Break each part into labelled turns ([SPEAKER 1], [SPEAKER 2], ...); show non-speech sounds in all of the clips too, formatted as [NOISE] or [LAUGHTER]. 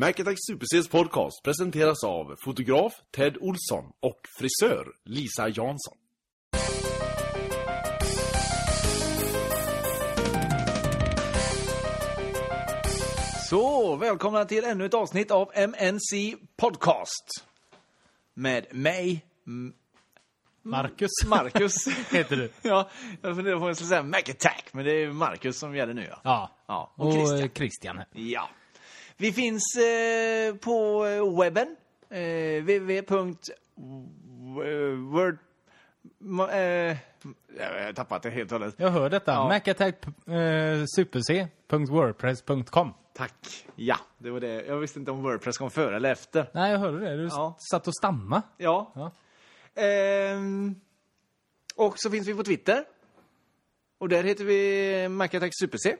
[SPEAKER 1] Macattack SuperCs podcast presenteras av fotograf Ted Olsson och frisör Lisa Jansson.
[SPEAKER 2] Så, välkomna till ännu ett avsnitt av MNC Podcast. Med mig, M-
[SPEAKER 3] Marcus. [LAUGHS]
[SPEAKER 2] Marcus.
[SPEAKER 3] heter du.
[SPEAKER 2] ja, jag funderar på om jag skulle säga Mac Attack, men det är Marcus som gäller nu. Ja.
[SPEAKER 3] Ja.
[SPEAKER 2] Ja, och
[SPEAKER 3] Och eh,
[SPEAKER 2] Christian.
[SPEAKER 3] Christian. Christian.
[SPEAKER 2] ja. Vi finns eh, på eh, webben. Eh, www.word... ma- Eh, jag har tappat det helt och hållet.
[SPEAKER 3] Jag hör detta. eh,
[SPEAKER 2] Ja.
[SPEAKER 3] macattacksuperc.wordpress.com.
[SPEAKER 2] Tack. Ja, det var det. Jag visste inte om Wordpress kom före eller efter.
[SPEAKER 3] Nej, jag hörde det. Du
[SPEAKER 2] Ja.
[SPEAKER 3] satt och stamma.
[SPEAKER 2] Ja.
[SPEAKER 3] Ja.
[SPEAKER 2] Ehm, och så finns vi på Twitter. Och där heter vi MacAttack SuperC.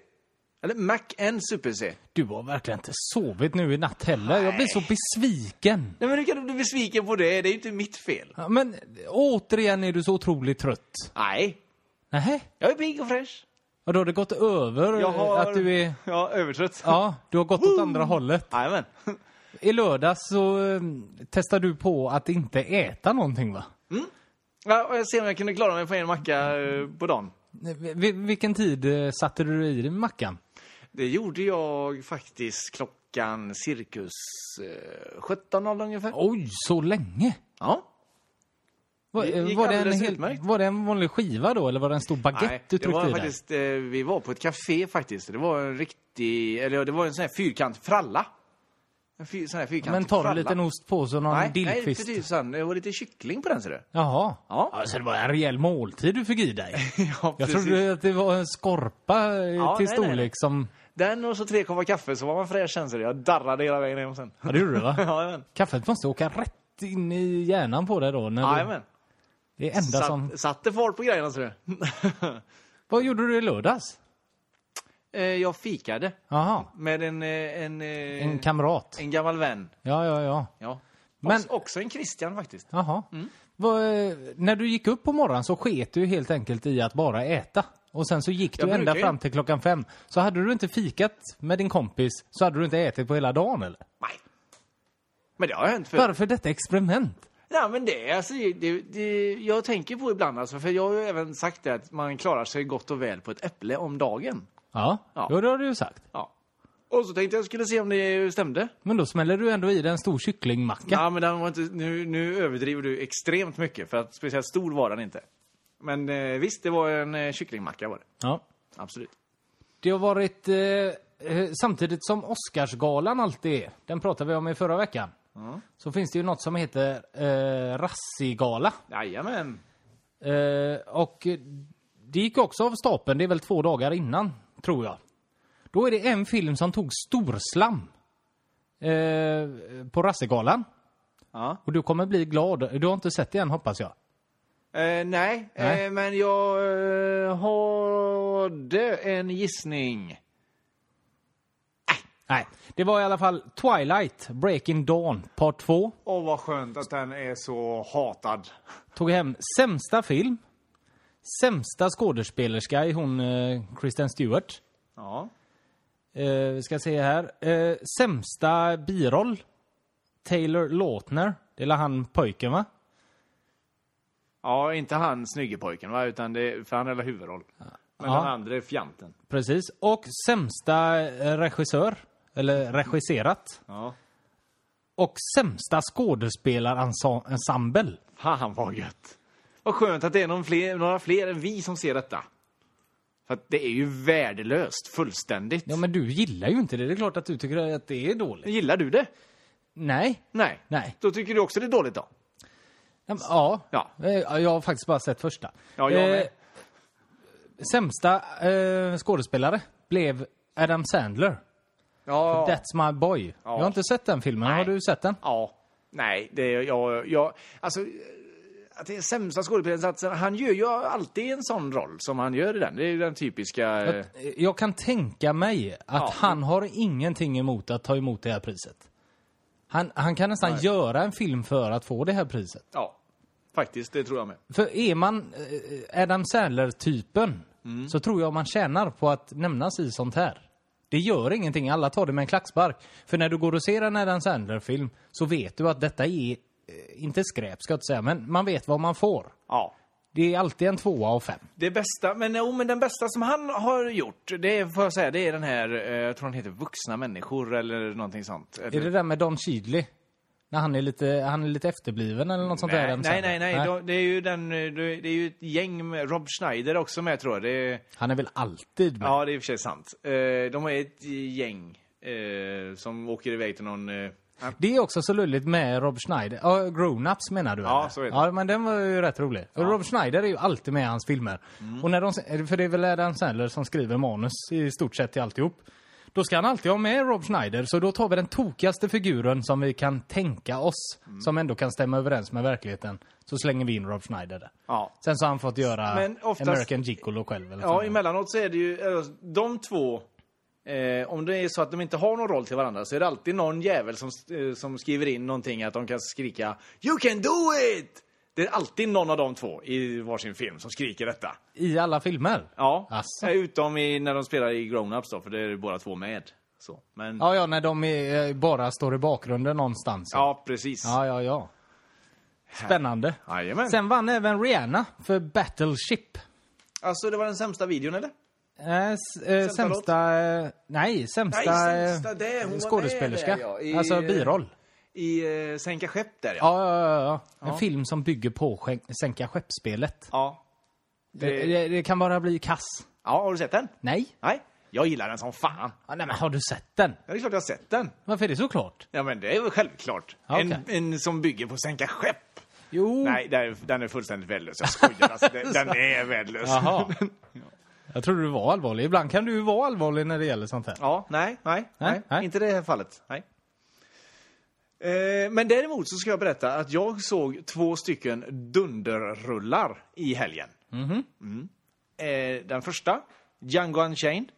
[SPEAKER 2] Eller MacN SuperC.
[SPEAKER 3] Du har verkligen inte sovit nu i natt heller. Jag blir så besviken.
[SPEAKER 2] Nej men hur kan du bli besviken på det? Det är ju inte mitt fel.
[SPEAKER 3] Ja, men återigen är du så otroligt trött.
[SPEAKER 2] Nej,
[SPEAKER 3] Nej.
[SPEAKER 2] jag är pigg och fräsch.
[SPEAKER 3] Och då har det gått över
[SPEAKER 2] Jag
[SPEAKER 3] eh,
[SPEAKER 2] har...
[SPEAKER 3] att du är...
[SPEAKER 2] Ja, övertrött.
[SPEAKER 3] Ja, du har gått åt andra hållet.
[SPEAKER 2] Jajamän.
[SPEAKER 3] I lördags så eh, testade du på att inte äta någonting va?
[SPEAKER 2] Ja, och jag ser om jag kunde klara mig på en macka eh, på dagen.
[SPEAKER 3] Vi- vilken tid eh, satte du i dig mackan?
[SPEAKER 2] Det gjorde jag faktiskt klockan cirkus eh, 17.00 ungefär.
[SPEAKER 3] Oj, så länge?
[SPEAKER 2] Ja.
[SPEAKER 3] Var,
[SPEAKER 2] Det gick
[SPEAKER 3] var, det en
[SPEAKER 2] alldeles
[SPEAKER 3] hel,
[SPEAKER 2] utmärkt.
[SPEAKER 3] var det en vanlig skiva då, eller var det en stor baguette
[SPEAKER 2] Nej,
[SPEAKER 3] du
[SPEAKER 2] det var
[SPEAKER 3] tryckte i där?
[SPEAKER 2] faktiskt, eh, vi var på ett café faktiskt. Det var en riktig, eller ja, det var en sån här fyrkant fralla. En fyr, sån här fyrkantig
[SPEAKER 3] Men tar du
[SPEAKER 2] fralla.
[SPEAKER 3] lite ost på så någon
[SPEAKER 2] Nej, nej,
[SPEAKER 3] dillkvist?
[SPEAKER 2] precis. sån. Det var lite kyckling på den ser du. [LAUGHS]
[SPEAKER 3] Jaha.
[SPEAKER 2] Ja.
[SPEAKER 3] så det var en rejäl måltid du fick
[SPEAKER 2] [LAUGHS]
[SPEAKER 3] i dig?
[SPEAKER 2] Ja,
[SPEAKER 3] Jag
[SPEAKER 2] precis.
[SPEAKER 3] trodde att det var en skorpa eh,
[SPEAKER 2] Ja,
[SPEAKER 3] till
[SPEAKER 2] nej, nej,
[SPEAKER 3] storlek
[SPEAKER 2] nej.
[SPEAKER 3] som...
[SPEAKER 2] Den och så tre koppar kaffe så var man fräsch sen ser du. Jag darrade hela vägen hem sen. [LAUGHS]
[SPEAKER 3] Ja, det gjorde du va?
[SPEAKER 2] Ja, Jajamän.
[SPEAKER 3] Kaffet måste åka rätt in i hjärnan på dig då? När du,
[SPEAKER 2] Jajamän.
[SPEAKER 3] det är enda som...
[SPEAKER 2] Satt, satte fart på grejerna ser du. [LAUGHS]
[SPEAKER 3] Vad gjorde du i lördags?
[SPEAKER 2] Eh, jag fikade
[SPEAKER 3] Jaha,
[SPEAKER 2] med en, eh, en, eh,
[SPEAKER 3] en kamrat.
[SPEAKER 2] en gammal vän.
[SPEAKER 3] Ja, ja, ja.
[SPEAKER 2] Ja.
[SPEAKER 3] Men-
[SPEAKER 2] Också, också en Christian faktiskt.
[SPEAKER 3] Jaha.
[SPEAKER 2] Mm.
[SPEAKER 3] Vad, eh, när du gick upp på morgonen så sket du helt enkelt i att bara äta. Och sen så gick
[SPEAKER 2] Jag
[SPEAKER 3] du ända
[SPEAKER 2] brukar ju.
[SPEAKER 3] fram till klockan fem. Så hade du inte fikat med din kompis så hade du inte ätit på hela dagen eller?
[SPEAKER 2] Nej. Men det har hänt förut.
[SPEAKER 3] Varför detta experiment?
[SPEAKER 2] Nej, men det, alltså, det, det, jag tänker på ibland, alltså, för jag har ju även sagt det, att man klarar sig gott och väl på ett äpple om dagen.
[SPEAKER 3] Ja,
[SPEAKER 2] Ja.
[SPEAKER 3] Jo, det har du ju sagt.
[SPEAKER 2] Ja. Och så tänkte jag skulle se om det stämde.
[SPEAKER 3] Men då smäller du ändå i dig en stor kycklingmacka.
[SPEAKER 2] Ja, men den var inte, nu, nu överdriver du extremt mycket, för att speciellt stor var den inte. Men eh, visst, det var en eh, kycklingmacka var det.
[SPEAKER 3] Ja.
[SPEAKER 2] Absolut.
[SPEAKER 3] Det har varit... Eh, eh, samtidigt som Oscarsgalan alltid är, den pratade vi om i förra veckan. Så finns det ju något som heter eh, Razziegala.
[SPEAKER 2] Jajamän.
[SPEAKER 3] Eh, och eh, det gick också av stapeln, det är väl två dagar innan, tror jag. Då är det en film som tog storslam eh, på Rassegalan.
[SPEAKER 2] Ja.
[SPEAKER 3] Och du kommer bli glad. Du har inte sett det än, hoppas jag.
[SPEAKER 2] Eh, nej,
[SPEAKER 3] Nej.
[SPEAKER 2] Eh, men jag eh, hade en gissning.
[SPEAKER 3] Nej, det var i alla fall Twilight, Breaking Dawn, part 2.
[SPEAKER 2] Åh, vad skönt att den är så hatad.
[SPEAKER 3] Tog hem sämsta film, sämsta skådespelerska i hon eh, Kristen Stewart.
[SPEAKER 2] Ja.
[SPEAKER 3] Eh, vi ska se här. Eh, sämsta biroll, Taylor Lautner. Det är han pojken, va?
[SPEAKER 2] Ja, inte han snygge pojken, va? Utan det, för han hade huvudroll. Men
[SPEAKER 3] Ja.
[SPEAKER 2] den andra är fjanten.
[SPEAKER 3] Precis. Och sämsta eh, regissör, eller regisserat.
[SPEAKER 2] Ja.
[SPEAKER 3] Och sämsta skådespelarensemble.
[SPEAKER 2] Fan vad gött! Vad skönt att det är någon fler, några fler än vi som ser detta. För att det är ju värdelöst, fullständigt.
[SPEAKER 3] Ja, men du gillar ju inte det. Det är klart att du tycker att det är dåligt.
[SPEAKER 2] Gillar du det?
[SPEAKER 3] Nej.
[SPEAKER 2] Nej.
[SPEAKER 3] Nej.
[SPEAKER 2] Då tycker du också det är dåligt då?
[SPEAKER 3] Ja, men, Ja.
[SPEAKER 2] Ja.
[SPEAKER 3] Eh, Jag har faktiskt bara sett första. Eh,
[SPEAKER 2] Ja, jag med.
[SPEAKER 3] sämsta eh, skådespelare blev Adam Sandler.
[SPEAKER 2] Ja.
[SPEAKER 3] That's my boy. Jag har inte sett den filmen. Har du sett den?
[SPEAKER 2] Ja. Nej, det är jag, jag... Alltså, eh, att det är sämsta skådespelarinsatsen. Han gör ju alltid en sån roll som han gör i den. Det är ju den typiska... eh,
[SPEAKER 3] Jag kan tänka mig att
[SPEAKER 2] Ja.
[SPEAKER 3] han har ingenting emot att ta emot det här priset. Han, han kan nästan göra en film för att få det här priset.
[SPEAKER 2] Ja, faktiskt. Det tror jag med.
[SPEAKER 3] För är man
[SPEAKER 2] Mm.
[SPEAKER 3] eh, Adam Sandler-typen så tror jag man tjänar på att nämnas i sånt här. Det gör ingenting, alla tar det med en klackspark. För när du går och ser en Adam Sandler-film så vet du att detta är, eh, inte skräp ska jag inte säga, men man vet vad man får.
[SPEAKER 2] Ja.
[SPEAKER 3] Det är alltid en tvåa av fem.
[SPEAKER 2] Det bästa, men, oh, men den bästa som han har gjort, det är, får jag säga, det är den här, eh, jag tror den heter Vuxna människor eller någonting sånt.
[SPEAKER 3] Är det där med Don Cheadley? När han är lite, han är lite efterbliven eller något sånt där?
[SPEAKER 2] Nej,
[SPEAKER 3] Adam
[SPEAKER 2] nej,
[SPEAKER 3] Sandler?
[SPEAKER 2] nej, nej. de- Det är ju den, eh, det det är ju ett gäng med Rob Schneider också med tror jag. Det är,
[SPEAKER 3] Han är väl alltid med?
[SPEAKER 2] ja, det är i och för sig sant. Eh, De är ett gäng eh, som åker iväg till någon... eh,
[SPEAKER 3] Det är också så lulligt med Rob Schneider. Ja, Grown-ups menar du?
[SPEAKER 2] Ja,
[SPEAKER 3] eller?
[SPEAKER 2] så är det.
[SPEAKER 3] Ja, men den var ju rätt rolig. För Rob Schneider är ju alltid med i hans filmer.
[SPEAKER 2] Mm.
[SPEAKER 3] Och när de, för det är väl Adam Sandler som skriver manus i stort sett till alltihop. Då ska han alltid ha med Rob Schneider, så då tar vi den tokigaste figuren som vi kan tänka oss,
[SPEAKER 2] Mm.
[SPEAKER 3] som ändå kan stämma överens med verkligheten, så slänger vi in Rob Schneider där.
[SPEAKER 2] Ja.
[SPEAKER 3] Sen så har han fått göra
[SPEAKER 2] Men oftast-
[SPEAKER 3] American Gigolo själv. Eller
[SPEAKER 2] Ja,
[SPEAKER 3] sånt där.
[SPEAKER 2] emellanåt så är det ju eh, de två. Eh, om det är så att de inte har någon roll till varandra så är det alltid någon jävel som, eh, som skriver in någonting att de kan skrika You can do it! Det är alltid någon av de två i varsin film som skriker detta.
[SPEAKER 3] I alla filmer?
[SPEAKER 2] Ja, eh,
[SPEAKER 3] Asså.
[SPEAKER 2] utom i, när de spelar i Grown-Ups då, för det är ju båda två med. Så. Men, ja.
[SPEAKER 3] Ja, ja, när de är, eh, bara står i bakgrunden någonstans.
[SPEAKER 2] precis.
[SPEAKER 3] Ja, ja, ja. Spännande.
[SPEAKER 2] Jajamän.
[SPEAKER 3] Sen vann även Rihanna för Battleship.
[SPEAKER 2] Alltså, det var den sämsta videon, eller?
[SPEAKER 3] Eh, s- eh,
[SPEAKER 2] Sämsta låt?
[SPEAKER 3] sämsta... Eh, nej, sämsta,
[SPEAKER 2] Nej, sämsta,
[SPEAKER 3] eh,
[SPEAKER 2] det, hon var med
[SPEAKER 3] skådespelerska.
[SPEAKER 2] där, ja, i-
[SPEAKER 3] Alltså biroll.
[SPEAKER 2] I eh, Sänka skepp där, ja.
[SPEAKER 3] Ja, ja, ja, ja. En film som bygger på skän- Sänka skeppsspelet.
[SPEAKER 2] Ja.
[SPEAKER 3] Det... Det, det kan bara bli kass.
[SPEAKER 2] ja, har du sett den?
[SPEAKER 3] Nej.
[SPEAKER 2] Nej, jag gillar den som fan.
[SPEAKER 3] Ja, nej, men har du sett den?
[SPEAKER 2] Ja, det är klart jag har sett den.
[SPEAKER 3] Varför är det så klart?
[SPEAKER 2] Ja, men det är väl självklart.
[SPEAKER 3] Ja,
[SPEAKER 2] en,
[SPEAKER 3] okej.
[SPEAKER 2] en som bygger på sänka skepp.
[SPEAKER 3] Jo.
[SPEAKER 2] Nej, den är, den är fullständigt värdelös. Jag skojar. Alltså,
[SPEAKER 3] [LAUGHS]
[SPEAKER 2] den, den är värdelös.
[SPEAKER 3] Jaha. [LAUGHS] Jag trodde du var allvarlig. Ibland kan du ju vara allvarlig när det gäller sånt här.
[SPEAKER 2] Ja, nej, nej,
[SPEAKER 3] Nej,
[SPEAKER 2] nej,
[SPEAKER 3] nej.
[SPEAKER 2] Inte det här fallet. Nej. Eh, Men däremot så ska jag berätta att jag såg två stycken dunderrullar i helgen.
[SPEAKER 3] Mhm.
[SPEAKER 2] Mm. Eh, Den första, Django Unchained.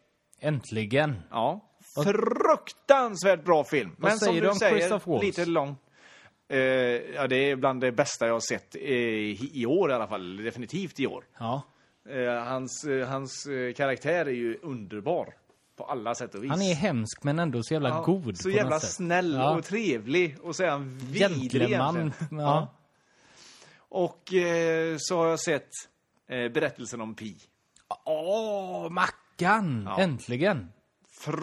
[SPEAKER 3] Äntligen.
[SPEAKER 2] Ja. Fruktansvärt bra film. Men
[SPEAKER 3] säger
[SPEAKER 2] som du
[SPEAKER 3] du om
[SPEAKER 2] säger,
[SPEAKER 3] Christoph Waltz?
[SPEAKER 2] lite lång. Eh, ja, det är bland det bästa jag har sett eh, i i år i alla fall. Definitivt i år.
[SPEAKER 3] Ja.
[SPEAKER 2] Eh, hans eh, hans eh, karaktär är ju underbar. På alla sätt och vis.
[SPEAKER 3] Han är hemsk men ändå så jävla
[SPEAKER 2] Ja,
[SPEAKER 3] god.
[SPEAKER 2] Så
[SPEAKER 3] på
[SPEAKER 2] jävla
[SPEAKER 3] något sätt.
[SPEAKER 2] snäll
[SPEAKER 3] Ja.
[SPEAKER 2] och trevlig. Och så är han vidrig
[SPEAKER 3] Gentleman.
[SPEAKER 2] egentligen.
[SPEAKER 3] Ja.
[SPEAKER 2] Och eh, så har jag sett eh, berättelsen om Pi.
[SPEAKER 3] Åh, Mackan! Äntligen!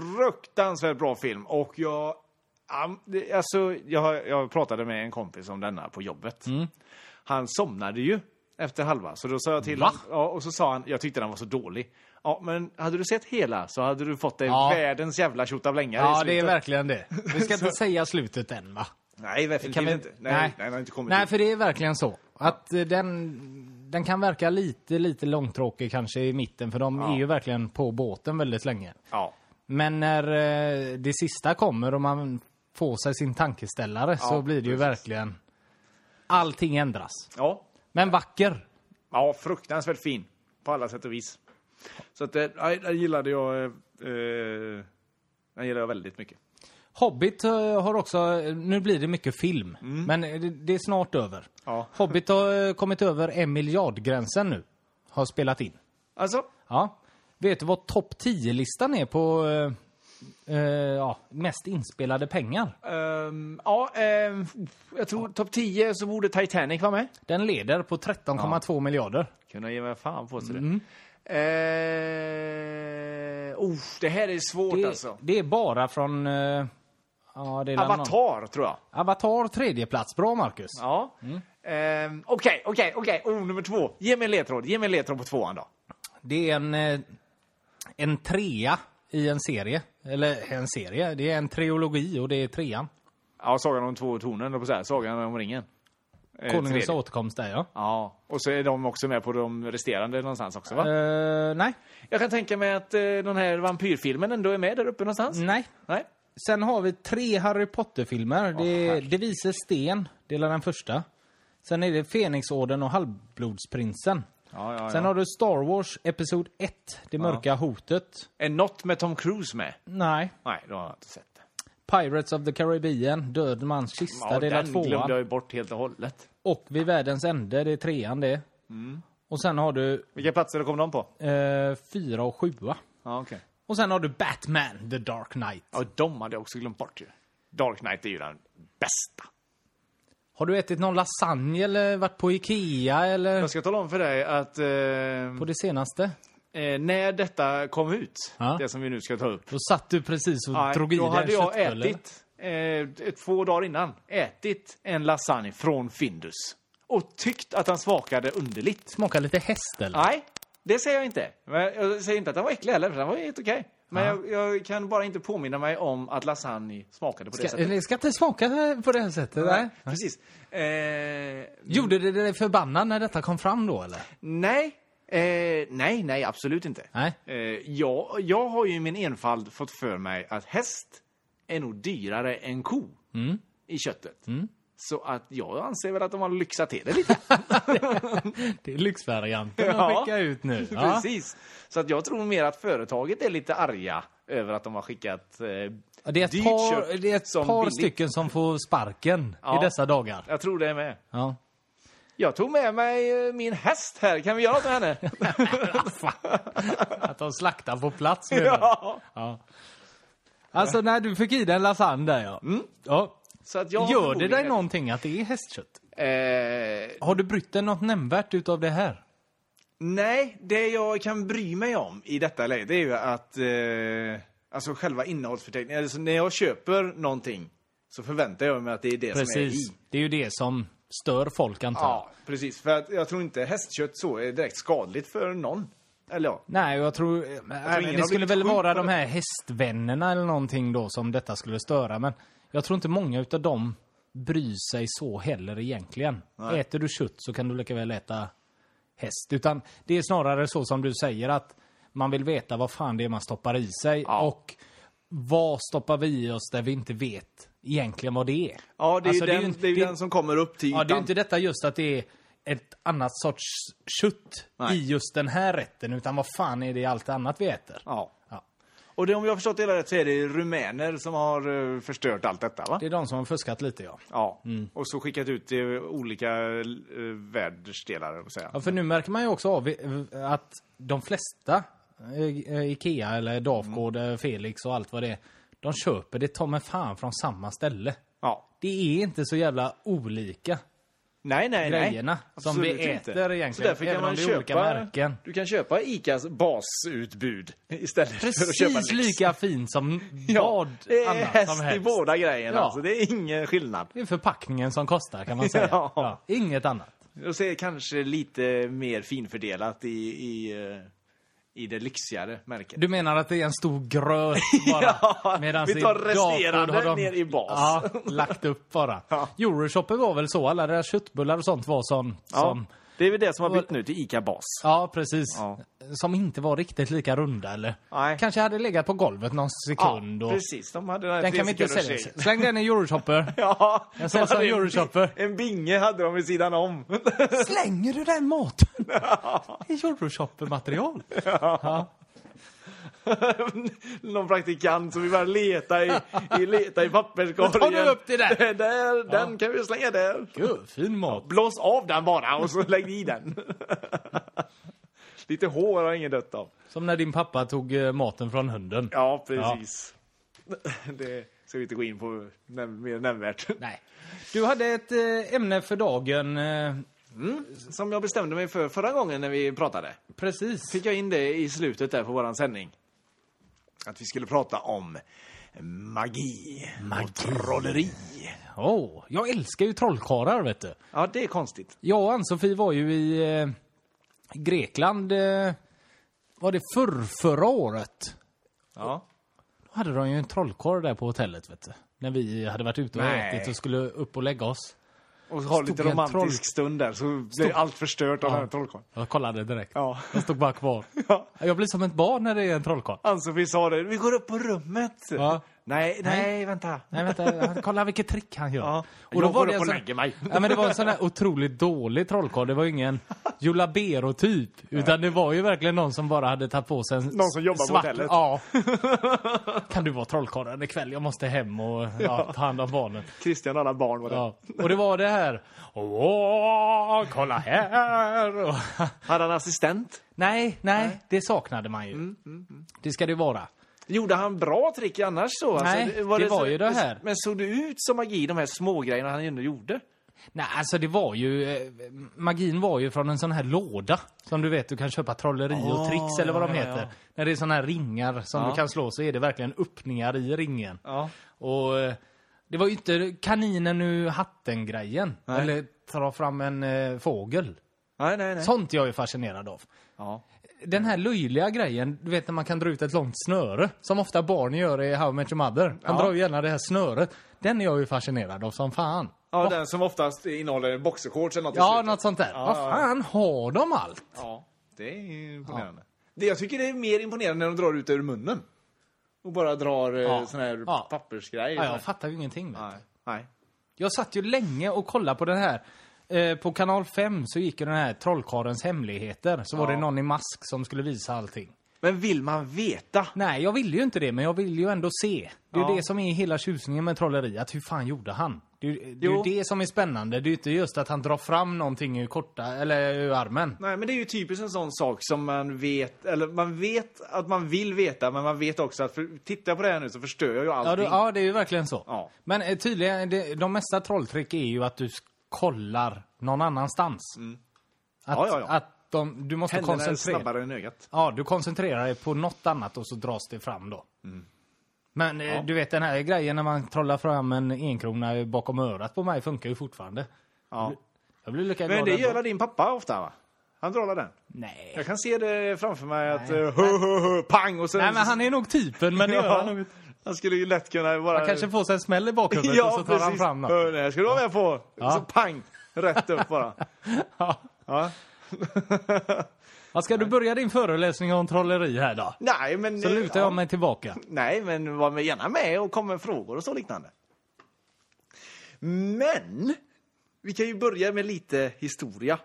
[SPEAKER 2] fruktansvärt bra film och jag... am- det- Alltså, jag, har- jag pratade med en kompis om denna på jobbet.
[SPEAKER 3] Mm.
[SPEAKER 2] Han somnade ju efter halva, så då sa jag till
[SPEAKER 3] Va?
[SPEAKER 2] honom. Ja, och så sa han, jag tyckte den var så dålig. Ja, men hade du sett hela så hade du fått dig
[SPEAKER 3] Ja.
[SPEAKER 2] världens jävla tjottablänga i
[SPEAKER 3] Ja, det är
[SPEAKER 2] slutet.
[SPEAKER 3] verkligen det.
[SPEAKER 2] [LAUGHS]
[SPEAKER 3] Vi ska inte säga slutet än, va?
[SPEAKER 2] Nej, definitivt inte. Nej, nej. den har inte kommit
[SPEAKER 3] nej
[SPEAKER 2] ut.
[SPEAKER 3] för det är verkligen så. Att eh, den, den kan verka lite, lite långtråkig kanske i mitten, för de är ju verkligen på båten väldigt länge.
[SPEAKER 2] Ja.
[SPEAKER 3] Men när eh, det sista kommer och man får sig sin tankeställare så blir det ju verkligen... Allting ändras.
[SPEAKER 2] ja.
[SPEAKER 3] Men vacker!
[SPEAKER 2] Ja, fruktansvärt fin. På alla sätt och vis. Så att, eh, nej, den gillade jag... eh, Eh, den gillade jag väldigt mycket.
[SPEAKER 3] Hobbit eh, har också, nu blir det mycket film, men eh, det- det är snart över.
[SPEAKER 2] Mm. Ja. [LAUGHS]
[SPEAKER 3] Hobbit har eh, kommit över en miljardgränsen nu. Har spelat in.
[SPEAKER 2] Alltså,
[SPEAKER 3] Ja. Vet du vad topp 10-listan är på eh, eh, ja, mest inspelade pengar?
[SPEAKER 2] Ehm, ja, ehm, jag tror topp 10 så borde Titanic vara med.
[SPEAKER 3] Den leder på 13,2 miljarder.
[SPEAKER 2] Kunna ge mig fan på sig det. Ehm, Mm. Eh, oh, det här är svårt
[SPEAKER 3] Det,
[SPEAKER 2] alltså.
[SPEAKER 3] det är bara från... Eh, ja, det är den-
[SPEAKER 2] Avatar tror jag.
[SPEAKER 3] Avatar tredje plats. Bra Marcus.
[SPEAKER 2] Ja. Ehm, Okej, okej, okej. Oh, nummer två. Ge mig en ledtråd. Ge mig en ledtråd på tvåan då.
[SPEAKER 3] Det är en, eh, en trea i en serie. Eller en serie, det är en trilogi och det är trean.
[SPEAKER 2] Ja, Sagan om två tornen, eller på så här. Sagan om ringen. Ehm,
[SPEAKER 3] Konungens
[SPEAKER 2] tredje.
[SPEAKER 3] återkomst där ja.
[SPEAKER 2] Ja, och så är de också med på de resterande någonstans också va?
[SPEAKER 3] Eh, nej,
[SPEAKER 2] Jag kan tänka mig att eh, den här vampyrfilmen ändå är med där uppe någonstans.
[SPEAKER 3] nej.
[SPEAKER 2] Nej?
[SPEAKER 3] Sen har vi tre Harry Potter-filmer. det är
[SPEAKER 2] herregud.
[SPEAKER 3] De vises sten, det är den första. Sen är det Fenixorden och Halvblodsprinsen.
[SPEAKER 2] Ja, ja,
[SPEAKER 3] Sen
[SPEAKER 2] ja.
[SPEAKER 3] har du Star Wars Episod 1, Det mörka hotet.
[SPEAKER 2] Är något med Tom Cruise med?
[SPEAKER 3] Nej.
[SPEAKER 2] Nej, då har jag inte sett det.
[SPEAKER 3] Pirates of the Caribbean, Död mans kista, det är den
[SPEAKER 2] den glömde jag
[SPEAKER 3] tvåan.
[SPEAKER 2] ju bort helt och hållet.
[SPEAKER 3] Och Vid världens ände, det är trean det.
[SPEAKER 2] Mm.
[SPEAKER 3] Och sen har du
[SPEAKER 2] Vilka platser kom de på?
[SPEAKER 3] Eh, fyra och sjua.
[SPEAKER 2] Ja, okej.
[SPEAKER 3] Och sen har du Batman, The Dark Knight.
[SPEAKER 2] Ja, de hade jag också glömt bort ju. Dark Knight är ju den bästa.
[SPEAKER 3] Har du ätit någon lasagne eller varit på Ikea eller
[SPEAKER 2] Jag ska tala om för dig att eh,
[SPEAKER 3] på det senaste?
[SPEAKER 2] eh, när detta kom ut,
[SPEAKER 3] Ja.
[SPEAKER 2] det som vi nu ska ta upp,
[SPEAKER 3] Då satt du precis och
[SPEAKER 2] Nej,
[SPEAKER 3] drog i
[SPEAKER 2] då
[SPEAKER 3] dig en
[SPEAKER 2] hade jag
[SPEAKER 3] köttbulle.
[SPEAKER 2] ätit, eh, två dagar innan, ätit en lasagne från Findus. Och tyckt att den smakade underligt.
[SPEAKER 3] Smakar lite häst eller?
[SPEAKER 2] Nej, det säger jag inte. Men jag säger inte att den var äcklig heller, för den var helt okej. Men jag, jag kan bara inte påminna mig om att lasagne smakade på det
[SPEAKER 3] Ska,
[SPEAKER 2] sättet.
[SPEAKER 3] det ska inte smaka på det här sättet. Nej.
[SPEAKER 2] Precis. Eh,
[SPEAKER 3] Gjorde det dig förbannad när detta kom fram då eller?
[SPEAKER 2] nej. Eh, nej, nej, absolut inte.
[SPEAKER 3] Nej.
[SPEAKER 2] Eh, jag, jag har ju i min enfald fått för mig att häst är nog dyrare än ko
[SPEAKER 3] Mm.
[SPEAKER 2] i köttet. Så att jag anser väl att de har lyxat till det lite.
[SPEAKER 3] Det är lyxvarianten
[SPEAKER 2] Ja.
[SPEAKER 3] att skicka
[SPEAKER 2] [LAUGHS]
[SPEAKER 3] ut nu. [LAUGHS] Ja.
[SPEAKER 2] Precis. Så att jag tror mer att företaget är lite arga över att de har skickat... Eh,
[SPEAKER 3] Ja, Det är ett
[SPEAKER 2] dyrt
[SPEAKER 3] par,
[SPEAKER 2] kött
[SPEAKER 3] det är ett
[SPEAKER 2] som
[SPEAKER 3] par
[SPEAKER 2] billigt.
[SPEAKER 3] stycken som får sparken
[SPEAKER 2] Ja.
[SPEAKER 3] i dessa dagar.
[SPEAKER 2] Jag tror det med.
[SPEAKER 3] Ja.
[SPEAKER 2] Jag tog med mig eh, min häst här. Kan vi göra något med
[SPEAKER 3] [LAUGHS]
[SPEAKER 2] henne?
[SPEAKER 3] Att de slaktar på plats menar du?
[SPEAKER 2] ja.
[SPEAKER 3] Alltså när du fick i dig en lasagne där ja. ja.
[SPEAKER 2] Så att Mm. jag har
[SPEAKER 3] Gör det dig
[SPEAKER 2] förmodligen-
[SPEAKER 3] någonting att det är hästkött?
[SPEAKER 2] Eh,
[SPEAKER 3] Har du brytt dig något nämnvärt utav det här?
[SPEAKER 2] Nej, det jag kan bry mig om i detta läge det är ju att eh, alltså själva innehållsförteckningen, alltså när jag köper någonting så förväntar jag mig att det är det som är i.
[SPEAKER 3] Det är ju det som stör folk antar jag.
[SPEAKER 2] Ja, precis. För att jag tror inte hästkött så är direkt skadligt för någon. Eller ja.
[SPEAKER 3] Nej, jag tror...
[SPEAKER 2] har
[SPEAKER 3] det
[SPEAKER 2] blivit
[SPEAKER 3] skulle väl
[SPEAKER 2] sjuk
[SPEAKER 3] vara
[SPEAKER 2] på
[SPEAKER 3] de här hästvännerna eller någonting då som detta skulle störa. Men jag tror inte många utav dem bryr sig så heller egentligen.
[SPEAKER 2] Nej.
[SPEAKER 3] Äter du kött så kan du lika väl äta häst. Utan det är snarare så som du säger att man vill veta vad fan det är man stoppar i sig.
[SPEAKER 2] Ja.
[SPEAKER 3] Och vad stoppar vi i oss där vi inte vet egentligen vad det är.
[SPEAKER 2] Ja, det är
[SPEAKER 3] Alltså,
[SPEAKER 2] ju den, det,
[SPEAKER 3] inte-
[SPEAKER 2] är ju
[SPEAKER 3] det-
[SPEAKER 2] den som kommer upp till
[SPEAKER 3] Ja,
[SPEAKER 2] ytan.
[SPEAKER 3] det är ju inte detta just att det är ett annat sorts kött
[SPEAKER 2] Nej.
[SPEAKER 3] i just den här rätten. Utan vad fan är det i allt annat vi äter?
[SPEAKER 2] ja.
[SPEAKER 3] Ja.
[SPEAKER 2] Och det, om jag har förstått det hela rätt så är det rumäner som har eh, förstört allt detta, va?
[SPEAKER 3] Det är de som har fuskat lite ja.
[SPEAKER 2] Ja.
[SPEAKER 3] Mm.
[SPEAKER 2] Och så skickat ut till olika eh, världsdelar, höll jag på att säga.
[SPEAKER 3] ja för nu märker man ju också av eh, att de flesta eh, eh, Ikea eller Dafgård, eh, Felix och allt vad det är. De köper det ta mig fan från samma ställe.
[SPEAKER 2] Ja.
[SPEAKER 3] Det är inte så jävla olika.
[SPEAKER 2] Nej, nej,
[SPEAKER 3] grejerna
[SPEAKER 2] nej.
[SPEAKER 3] som vi
[SPEAKER 2] Absolut
[SPEAKER 3] äter egentligen,
[SPEAKER 2] Så därför
[SPEAKER 3] även
[SPEAKER 2] kan
[SPEAKER 3] om
[SPEAKER 2] man
[SPEAKER 3] det är olika
[SPEAKER 2] köpa,
[SPEAKER 3] märken.
[SPEAKER 2] Du kan köpa ICAs basutbud istället för att köpa
[SPEAKER 3] Precis
[SPEAKER 2] lyx.
[SPEAKER 3] lika fint som
[SPEAKER 2] ja,
[SPEAKER 3] vad
[SPEAKER 2] Det är
[SPEAKER 3] annat
[SPEAKER 2] häst
[SPEAKER 3] som
[SPEAKER 2] i
[SPEAKER 3] helst.
[SPEAKER 2] båda grejerna,
[SPEAKER 3] Ja.
[SPEAKER 2] alltså. det är ingen skillnad.
[SPEAKER 3] Det är förpackningen som kostar kan [LAUGHS] man säga.
[SPEAKER 2] Ja.
[SPEAKER 3] Ja, inget annat.
[SPEAKER 2] Och så är det kanske lite mer finfördelat i, i, eh, i det lyxigare märket.
[SPEAKER 3] Du menar att det är en stor
[SPEAKER 2] [LAUGHS]
[SPEAKER 3] gröt bara?
[SPEAKER 2] Ja,
[SPEAKER 3] medans
[SPEAKER 2] vi tar
[SPEAKER 3] i
[SPEAKER 2] resterande
[SPEAKER 3] Dafgård har
[SPEAKER 2] ner i bas.
[SPEAKER 3] Ja, lagt upp bara.
[SPEAKER 2] [LAUGHS] Ja.
[SPEAKER 3] Euroshopper var väl så? Alla deras köttbullar och sånt var sån,
[SPEAKER 2] ja.
[SPEAKER 3] som...
[SPEAKER 2] Det är väl det som har bytt nu till ICA-bas.
[SPEAKER 3] Ja, precis.
[SPEAKER 2] Ja.
[SPEAKER 3] Som inte var riktigt lika runda eller?
[SPEAKER 2] Nej.
[SPEAKER 3] Kanske hade legat på golvet någon sekund. och...
[SPEAKER 2] precis. De hade den här
[SPEAKER 3] Den
[SPEAKER 2] tre
[SPEAKER 3] kan vi inte
[SPEAKER 2] sekunders
[SPEAKER 3] sälja.
[SPEAKER 2] regeln.
[SPEAKER 3] Släng den i Euroshopper.
[SPEAKER 2] [LAUGHS] Ja,
[SPEAKER 3] Jag
[SPEAKER 2] de
[SPEAKER 3] säger som
[SPEAKER 2] hade en- [LAUGHS]
[SPEAKER 3] Euroshopper.
[SPEAKER 2] En binge hade de vid sidan om. [LAUGHS]
[SPEAKER 3] Slänger du den maten? Det är Euroshopper-material. Ja.
[SPEAKER 2] någon praktikant som vi bara leta i, i, leta i papperskorgen.
[SPEAKER 3] Då tar du upp det
[SPEAKER 2] [LAUGHS]
[SPEAKER 3] där.
[SPEAKER 2] där Den kan vi slänga där.
[SPEAKER 3] Gud, fin mat.
[SPEAKER 2] Blås av den bara och så lägg i den. [LAUGHS] Lite hår har ingen dött av.
[SPEAKER 3] Som när din pappa tog eh, maten från hunden.
[SPEAKER 2] Ja, precis. [LAUGHS] Det ska vi inte gå in på näm- mer nämnvärt.
[SPEAKER 3] Nej. Du hade ett eh, ämne för dagen. eh,
[SPEAKER 2] [LAUGHS] Som jag bestämde mig för förra gången när vi pratade.
[SPEAKER 3] Precis.
[SPEAKER 2] Fick jag in det i slutet där på våran sändning. Att vi skulle prata om magi,
[SPEAKER 3] Magi.
[SPEAKER 2] och trolleri.
[SPEAKER 3] Åh, jag älskar ju trollkarlar, vet du.
[SPEAKER 2] Ja, det är konstigt.
[SPEAKER 3] Jag och Ann-Sofie var ju i eh, Grekland, eh, var det förr, förra året?
[SPEAKER 2] Ja.
[SPEAKER 3] Då hade de ju en trollkarl där på hotellet, vet du. När vi hade varit ute och
[SPEAKER 2] Nej.
[SPEAKER 3] ätit och skulle upp och lägga oss.
[SPEAKER 2] Och ha lite
[SPEAKER 3] en
[SPEAKER 2] romantisk
[SPEAKER 3] troll-
[SPEAKER 2] stund där så blir allt förstört av den här trollkarlen.
[SPEAKER 3] Jag kollade direkt.
[SPEAKER 2] Ja.
[SPEAKER 3] Jag stod bara [LAUGHS] kvar.
[SPEAKER 2] Ja.
[SPEAKER 3] Jag blir som ett barn när det är en trollkarl.
[SPEAKER 2] Ann-Sofie sa det, vi går upp på rummet.
[SPEAKER 3] Ja.
[SPEAKER 2] Nej, nej,
[SPEAKER 3] Nej.
[SPEAKER 2] vänta.
[SPEAKER 3] Nej vänta, han- kolla vilket trick han gör.
[SPEAKER 2] Ja.
[SPEAKER 3] Och då
[SPEAKER 2] Jag
[SPEAKER 3] var
[SPEAKER 2] går
[SPEAKER 3] det
[SPEAKER 2] upp
[SPEAKER 3] en
[SPEAKER 2] och
[SPEAKER 3] sån...
[SPEAKER 2] lägger mig.
[SPEAKER 3] Ja, men det var en sån här otroligt dålig trollkarl. Det var ju ingen Julabero-typ. Utan det var ju verkligen någon som bara hade tagit på sig en
[SPEAKER 2] Någon som jobbar på
[SPEAKER 3] svart...
[SPEAKER 2] hotellet.
[SPEAKER 3] Ja. [LAUGHS] Kan du vara trollkarlen ikväll? Jag måste hem och ja, ta hand om barnen.
[SPEAKER 2] Christian och alla barn var där.
[SPEAKER 3] Ja. Och det var det här. Åh, kolla här! Och... [LAUGHS]
[SPEAKER 2] Hade han assistent? Mm,
[SPEAKER 3] Nej, nej, det saknade man ju. Det ska det vara.
[SPEAKER 2] Gjorde han bra trick annars så?
[SPEAKER 3] Nej,
[SPEAKER 2] alltså,
[SPEAKER 3] det var ju det här.
[SPEAKER 2] Men såg det ut som magi, de här smågrejerna han ändå gjorde?
[SPEAKER 3] Nej, alltså det var ju... eh, Magin var ju från en sån här låda. Som du vet, du kan köpa trolleri och
[SPEAKER 2] Ah,
[SPEAKER 3] tricks eller vad de
[SPEAKER 2] ja, ja,
[SPEAKER 3] heter.
[SPEAKER 2] ja.
[SPEAKER 3] När det är såna här ringar som
[SPEAKER 2] Ja.
[SPEAKER 3] du kan slå så är det verkligen öppningar i ringen.
[SPEAKER 2] Ja.
[SPEAKER 3] Och eh, det var ju inte kaninen ur hatten-grejen.
[SPEAKER 2] Nej.
[SPEAKER 3] Eller dra fram en eh, fågel.
[SPEAKER 2] Nej, nej, nej.
[SPEAKER 3] Sånt jag är fascinerad av.
[SPEAKER 2] Ja.
[SPEAKER 3] Den här löjliga grejen, du vet när man kan dra ut ett långt snöre. Som ofta barn gör i How I Met Your Mother. Han
[SPEAKER 2] Ja.
[SPEAKER 3] drar ju gärna det här snöret. Den är jag ju fascinerad av som fan.
[SPEAKER 2] ja, den som oftast innehåller en boxershorts eller något i
[SPEAKER 3] Ja,
[SPEAKER 2] slutet.
[SPEAKER 3] något sånt där.
[SPEAKER 2] Ja,
[SPEAKER 3] Vad
[SPEAKER 2] ja.
[SPEAKER 3] fan har de allt?
[SPEAKER 2] Ja, det är imponerande. Det, jag tycker det är mer imponerande när de drar ut det ur munnen. Och bara drar eh,
[SPEAKER 3] Ja.
[SPEAKER 2] sån här
[SPEAKER 3] Ja.
[SPEAKER 2] pappersgrej.
[SPEAKER 3] Ja, jag fattar ju ingenting. Vet.
[SPEAKER 2] Nej.
[SPEAKER 3] du.
[SPEAKER 2] Nej.
[SPEAKER 3] Jag satt ju länge och kollade på den här. Eh, på kanal 5 så gick ju den här Trollkarlens hemligheter. Så var
[SPEAKER 2] Ja.
[SPEAKER 3] det någon i mask som skulle visa allting.
[SPEAKER 2] Men vill man veta?
[SPEAKER 3] Nej, jag ville ju inte det, men jag ville ju ändå se. Det är ju
[SPEAKER 2] Ja.
[SPEAKER 3] det som är hela tjusningen med trolleri, att hur fan gjorde han? Det är ju det, är ju
[SPEAKER 2] Jo.
[SPEAKER 3] det som är spännande. Det är ju inte just att han drar fram någonting ur korta, eller ur armen.
[SPEAKER 2] Nej, men det är ju typiskt en sån sak som man vet, eller man vet att man vill veta, men man vet också att för, titta på det här nu så förstör jag ju allting.
[SPEAKER 3] Ja, du, ja, det är ju verkligen så.
[SPEAKER 2] Ja.
[SPEAKER 3] Men eh, tydligen, det, de mesta trolltrick är ju att du s- kollar någon annanstans. Att,
[SPEAKER 2] Mm. Ja, ja, ja.
[SPEAKER 3] att de, du måste
[SPEAKER 2] Händerna är
[SPEAKER 3] koncentrera
[SPEAKER 2] snabbare än ögat.
[SPEAKER 3] Ja, du koncentrerar dig på något annat och så dras det fram då.
[SPEAKER 2] Mm.
[SPEAKER 3] Men eh, du vet den här grejen när man trollar fram en enkrona bakom örat på mig funkar ju fortfarande.
[SPEAKER 2] Ja.
[SPEAKER 3] Jag blir lika
[SPEAKER 2] Men
[SPEAKER 3] glad
[SPEAKER 2] det
[SPEAKER 3] ändå.
[SPEAKER 2] gör väl din pappa ofta? va? Han drar den.
[SPEAKER 3] Nej.
[SPEAKER 2] Jag kan se det framför mig att eh, hö, hö, hö, pang och sen...
[SPEAKER 3] Nej, men han är nog typen, men det
[SPEAKER 2] [LAUGHS]
[SPEAKER 3] gör
[SPEAKER 2] Ja,
[SPEAKER 3] han nog inte.
[SPEAKER 2] han skulle ju lätt kunna bara...
[SPEAKER 3] Han kanske får sig en smäll i bakhuvudet och så tar han fram något. [LAUGHS]
[SPEAKER 2] Hör, det här ska du vara med på. Så pang, rätt upp bara.
[SPEAKER 3] Ja. [LAUGHS]
[SPEAKER 2] Ja.
[SPEAKER 3] Ja, Ska du börja din föreläsning om trolleri här då?
[SPEAKER 2] nej, men...
[SPEAKER 3] Så lutar
[SPEAKER 2] ja,
[SPEAKER 3] jag mig tillbaka.
[SPEAKER 2] Nej, men var med- gärna med och kom med frågor och så liknande. Men, vi kan ju börja med lite historia,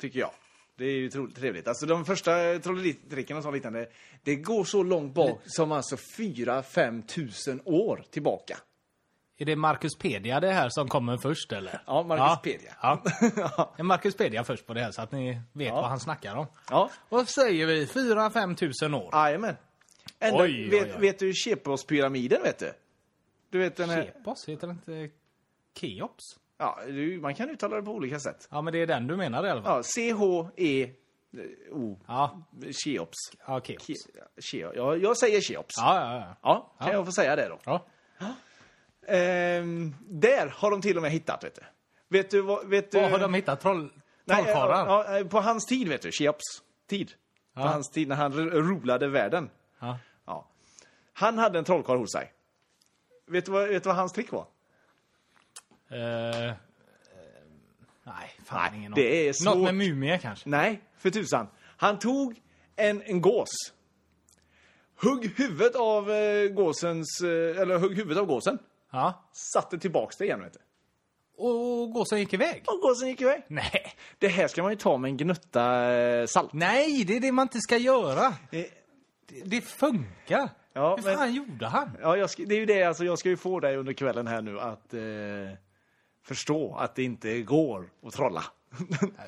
[SPEAKER 2] tycker jag. Det är ju tro- trevligt. Alltså de första trolleritricken och så liknande, det går så långt bak som alltså 4-5 tusen år tillbaka.
[SPEAKER 3] Är det Marcuspedia det här som kommer först eller?
[SPEAKER 2] Ja, Marcuspedia. [LAUGHS]
[SPEAKER 3] Ja. Ja. Är Marcuspedia först på det här så att ni vet vad han snackar om.
[SPEAKER 2] Ja,
[SPEAKER 3] Vad säger vi? 4-5 tusen år?
[SPEAKER 2] Jajamän. Ändå,
[SPEAKER 3] Oj, oj,
[SPEAKER 2] vet,
[SPEAKER 3] oj.
[SPEAKER 2] vet du Cheops-pyramiden, vet du? Du vet den här...
[SPEAKER 3] Kepos, heter det inte Keops?
[SPEAKER 2] Ja, du, man kan uttala det på olika sätt.
[SPEAKER 3] Ja, men det är den du menar i alla fall?
[SPEAKER 2] Ja, C-H-E-O.
[SPEAKER 3] Ja,
[SPEAKER 2] Cheops.
[SPEAKER 3] ja Keops.
[SPEAKER 2] Ke- Che- ja, jag säger Cheops. Ja,
[SPEAKER 3] Ja, ja, ja.
[SPEAKER 2] kan jag få säga det då?
[SPEAKER 3] ja.
[SPEAKER 2] Ehm, där har de till och med hittat, vet du. Vet du vad... Vet du...
[SPEAKER 3] Var har de hittat troll...
[SPEAKER 2] Nej,
[SPEAKER 3] trollkarlar?
[SPEAKER 2] ja, ja, På hans tid, vet du. Cheops tid. På hans tid, när han ro- rolade världen.
[SPEAKER 3] Ja.
[SPEAKER 2] Ja. Han hade en trollkarl hos sig. Vet du vad, vet du vad hans trick var?
[SPEAKER 3] Eh, eh, nej, fan
[SPEAKER 2] Nej,
[SPEAKER 3] ingen
[SPEAKER 2] det
[SPEAKER 3] aning.
[SPEAKER 2] är
[SPEAKER 3] Något
[SPEAKER 2] svårt.
[SPEAKER 3] med mumier kanske?
[SPEAKER 2] Nej, för tusan. Han tog en, en gås. Hugg huvudet av eh, gåsens, eh, eller hugg huvudet av gåsen.
[SPEAKER 3] Ja.
[SPEAKER 2] Satte tillbaks det igen vet du.
[SPEAKER 3] Och gåsen gick iväg?
[SPEAKER 2] Och gåsen gick iväg.
[SPEAKER 3] Nej.
[SPEAKER 2] Det här ska man ju ta med en gnutta eh, salt.
[SPEAKER 3] Nej, det är det man inte ska göra.
[SPEAKER 2] Eh,
[SPEAKER 3] Det funkar.
[SPEAKER 2] Ja,
[SPEAKER 3] Hur
[SPEAKER 2] men-
[SPEAKER 3] fan gjorde han?
[SPEAKER 2] Ja, jag ska, det är ju det alltså, jag ska ju få dig under kvällen här nu att eh, förstå att det inte går att [LAUGHS] trolla.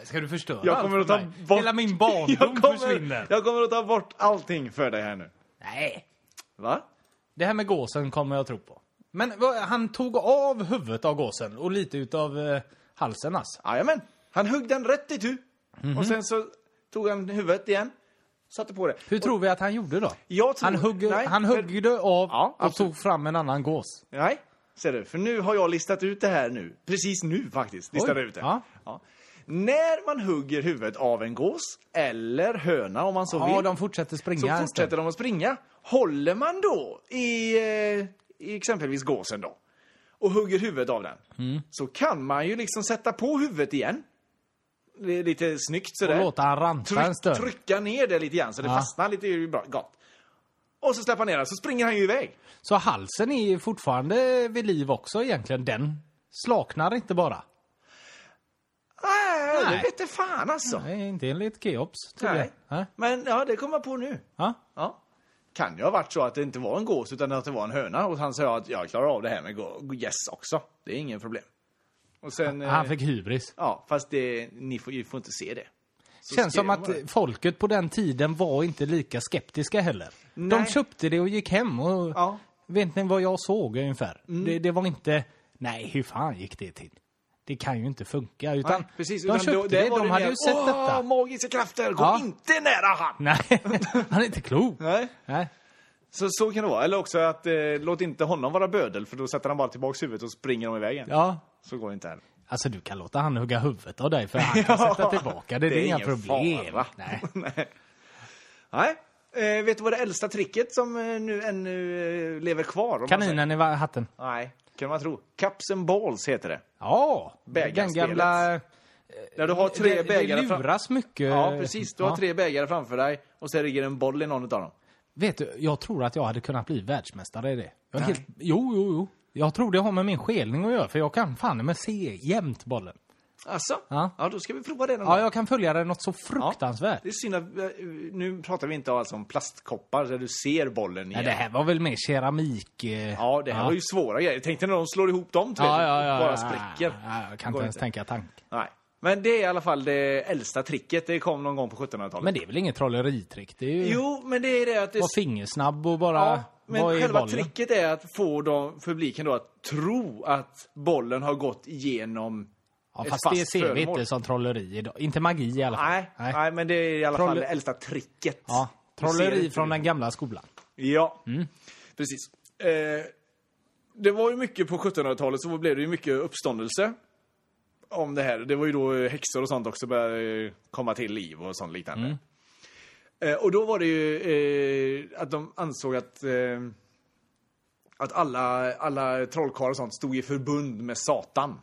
[SPEAKER 3] Ska du förstöra
[SPEAKER 2] Jag
[SPEAKER 3] allt
[SPEAKER 2] kommer
[SPEAKER 3] för
[SPEAKER 2] att ta
[SPEAKER 3] mig?
[SPEAKER 2] bort...
[SPEAKER 3] Hela
[SPEAKER 2] [LAUGHS]
[SPEAKER 3] min
[SPEAKER 2] Jag
[SPEAKER 3] barndom
[SPEAKER 2] kommer-
[SPEAKER 3] försvinner.
[SPEAKER 2] Jag kommer att ta bort allting för dig här nu.
[SPEAKER 3] Nej.
[SPEAKER 2] Va?
[SPEAKER 3] Det här med gåsen kommer jag tro på. Men vad, han tog av huvudet av gåsen och lite utav eh, halsen alltså.
[SPEAKER 2] Jajamän. Han högg den rätt i tu.
[SPEAKER 3] Mhm.
[SPEAKER 2] Och sen så tog han huvudet igen. Satte på det.
[SPEAKER 3] Hur tror vi att han gjorde då?
[SPEAKER 2] Jag tror-
[SPEAKER 3] han hugg,
[SPEAKER 2] nej,
[SPEAKER 3] han
[SPEAKER 2] för-
[SPEAKER 3] huggde av
[SPEAKER 2] Ja,
[SPEAKER 3] och
[SPEAKER 2] absolut.
[SPEAKER 3] tog fram en annan gås.
[SPEAKER 2] Nej, ser du. För nu har jag listat ut det här nu. Precis nu faktiskt. Listade
[SPEAKER 3] Oj,
[SPEAKER 2] ut det.
[SPEAKER 3] ja.
[SPEAKER 2] Ja. När man hugger huvudet av en gås, eller höna om man så
[SPEAKER 3] Ja,
[SPEAKER 2] vill,
[SPEAKER 3] de fortsätter springa.
[SPEAKER 2] så
[SPEAKER 3] en
[SPEAKER 2] fortsätter
[SPEAKER 3] stund.
[SPEAKER 2] de att springa. Håller man då i, eh, i exempelvis gåsen då och hugger huvudet av den,
[SPEAKER 3] Mm.
[SPEAKER 2] så kan man ju liksom sätta på huvudet igen. Det är Lite snyggt sådär.
[SPEAKER 3] Och låta han ranta en
[SPEAKER 2] Tryck,
[SPEAKER 3] stund.
[SPEAKER 2] trycka ner det lite grann så det
[SPEAKER 3] Ja.
[SPEAKER 2] fastnar lite. Det är ju bra, gott. Och så släpper han ner den, så springer han ju iväg.
[SPEAKER 3] Så halsen är ju fortfarande vid liv också egentligen. Den slaknar inte bara.
[SPEAKER 2] Nej,
[SPEAKER 3] Nej.
[SPEAKER 2] Ah, det vete fan alltså.
[SPEAKER 3] Nej, inte enligt Keops tydligen.
[SPEAKER 2] Nej.
[SPEAKER 3] Nej.
[SPEAKER 2] Men ja, det kommer jag på nu.
[SPEAKER 3] Ja.
[SPEAKER 2] Ja. Kan ju ha varit så att det inte var en gås utan att det var en höna och han sa att jag klarar av det här med gå- gäss också. Det är ingen problem. Och sen... eh,
[SPEAKER 3] Han Ah, fick hybris.
[SPEAKER 2] Ja, fast det, ni får, ni får inte se det. Så
[SPEAKER 3] Känns som
[SPEAKER 2] skrev
[SPEAKER 3] att
[SPEAKER 2] man det.
[SPEAKER 3] folket på den tiden var inte lika skeptiska heller. De
[SPEAKER 2] Nej.
[SPEAKER 3] köpte det och gick hem och
[SPEAKER 2] Ja. Mm.
[SPEAKER 3] vet ni vad jag såg ungefär? Det, det var inte, nej hur fan gick det till? Det kan ju inte funka. Utan
[SPEAKER 2] Nej, precis,
[SPEAKER 3] de köpte
[SPEAKER 2] då- där
[SPEAKER 3] det,
[SPEAKER 2] var
[SPEAKER 3] de hade
[SPEAKER 2] mer,
[SPEAKER 3] ju sett
[SPEAKER 2] "Åh,
[SPEAKER 3] detta.
[SPEAKER 2] magiska krafter, gå
[SPEAKER 3] Ja.
[SPEAKER 2] inte nära han!
[SPEAKER 3] Nej, [LAUGHS] han är inte klok.
[SPEAKER 2] Nej.
[SPEAKER 3] Nej.
[SPEAKER 2] Så, så kan det vara. Eller också att eh, låt inte honom vara bödel, för då sätter han bara tillbaks huvudet och springer de iväg igen.
[SPEAKER 3] Ja.
[SPEAKER 2] Så går det
[SPEAKER 3] [LAUGHS]
[SPEAKER 2] inte heller.
[SPEAKER 3] Alltså du kan låta han hugga huvudet av dig för
[SPEAKER 2] [LAUGHS]
[SPEAKER 3] han kan sätta tillbaka det. Det är, inga
[SPEAKER 2] ingen [LAUGHS]
[SPEAKER 3] problem.
[SPEAKER 2] fara.
[SPEAKER 3] Nej.
[SPEAKER 2] Nej. Nej. Eh, vet du vad det äldsta tricket som eh, nu ännu eh, lever kvar? om man säger?
[SPEAKER 3] Kaninen i va- hatten.
[SPEAKER 2] Nej, kan man tro. Cups and balls heter det.
[SPEAKER 3] Ja, den
[SPEAKER 2] Bägarspelet.
[SPEAKER 3] gamla...
[SPEAKER 2] Där du har tre
[SPEAKER 3] det,
[SPEAKER 2] bägare
[SPEAKER 3] Det
[SPEAKER 2] fram-
[SPEAKER 3] luras mycket.
[SPEAKER 2] Ja, precis. Du
[SPEAKER 3] Ja.
[SPEAKER 2] har tre bägare framför dig och så ligger en boll i någon av dem.
[SPEAKER 3] Vet du, jag tror att jag hade kunnat bli världsmästare i det. Jag är helt, jo, jo, jo. Jag tror det har med min skelning att göra, för jag kan fan med se jämt bollen.
[SPEAKER 2] Alltså?
[SPEAKER 3] Ja.
[SPEAKER 2] Ja. då ska vi prova det någon
[SPEAKER 3] Ja,
[SPEAKER 2] gång.
[SPEAKER 3] jag kan följa det något så fruktansvärt.
[SPEAKER 2] Det är synd att, eh, nu pratar vi inte alltså om plastkoppar där du ser bollen
[SPEAKER 3] Ja,
[SPEAKER 2] igen.
[SPEAKER 3] det här var väl mer keramik... eh,
[SPEAKER 2] Ja, det här var ju svåra grejer. Tänk dig när de slår ihop dem till
[SPEAKER 3] Ja, ja, ja,
[SPEAKER 2] bara
[SPEAKER 3] ja,
[SPEAKER 2] spricker.
[SPEAKER 3] Ja, jag kan
[SPEAKER 2] Går
[SPEAKER 3] inte ens
[SPEAKER 2] inte.
[SPEAKER 3] tänka tanken.
[SPEAKER 2] Nej. Men det är i alla fall det äldsta tricket. Det kom någon gång på 1700-talet.
[SPEAKER 3] Men det är väl inget trolleritrick? Det är ju
[SPEAKER 2] Jo, men det är det att det...
[SPEAKER 3] vara fingersnabb och bara...
[SPEAKER 2] Ja,
[SPEAKER 3] vad
[SPEAKER 2] men
[SPEAKER 3] är
[SPEAKER 2] själva
[SPEAKER 3] bollen?
[SPEAKER 2] tricket är att få de, publiken då att tro att bollen har gått igenom
[SPEAKER 3] Ja,
[SPEAKER 2] ett
[SPEAKER 3] fast
[SPEAKER 2] fast
[SPEAKER 3] det ser vi
[SPEAKER 2] föremål.
[SPEAKER 3] inte som trolleri idag. Inte magi i alla fall.
[SPEAKER 2] Nej, nej. men det är i alla
[SPEAKER 3] Troll-
[SPEAKER 2] fall det äldsta tricket.
[SPEAKER 3] Ja,
[SPEAKER 2] Vi ser
[SPEAKER 3] trolleri
[SPEAKER 2] inte
[SPEAKER 3] från
[SPEAKER 2] det.
[SPEAKER 3] den gamla skolan.
[SPEAKER 2] Ja, precis. Eh, det var ju mycket på 1700-talet så blev det ju mycket uppståndelse om det här. Det var ju då eh, häxor och sånt också började eh, komma till liv och sånt liknande. Eh, och då var det ju eh, att de ansåg att eh, att alla, alla trollkarlar och sånt stod i förbund med Satan.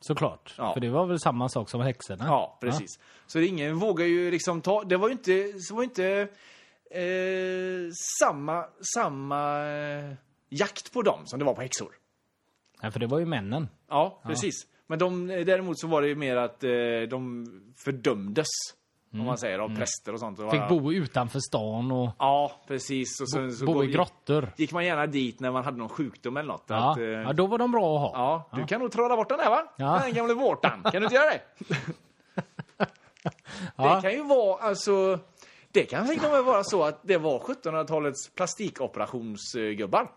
[SPEAKER 3] Såklart.
[SPEAKER 2] Ja.
[SPEAKER 3] För det var väl samma sak som häxorna?
[SPEAKER 2] Ja, precis. Så det är ingen vågar ju liksom ta... Det var ju inte, så var ju inte eh, samma, samma eh, jakt på dem som det var på häxor.
[SPEAKER 3] Nej, för det var ju männen.
[SPEAKER 2] Ja, precis. Men de, eh, däremot så var det ju mer att eh, de fördömdes, om man säger, av präster och sånt. Och
[SPEAKER 3] Mm. Fick
[SPEAKER 2] alla-
[SPEAKER 3] bo utanför stan och
[SPEAKER 2] Ja, precis. Och sen, så
[SPEAKER 3] bo
[SPEAKER 2] går-
[SPEAKER 3] i grottor.
[SPEAKER 2] Gick man gärna dit när man hade någon sjukdom eller något.
[SPEAKER 3] Ja.
[SPEAKER 2] Att, eh,
[SPEAKER 3] ja, då var de bra att ha.
[SPEAKER 2] ja, du kan nog trolla bort den här va?
[SPEAKER 3] Ja.
[SPEAKER 2] Den gamla vårtan. Kan du inte göra det?
[SPEAKER 3] Ja.
[SPEAKER 2] Det kan ju vara, alltså... Det kan till och med vara så att det var 1700-talets plastikoperationsgubbar.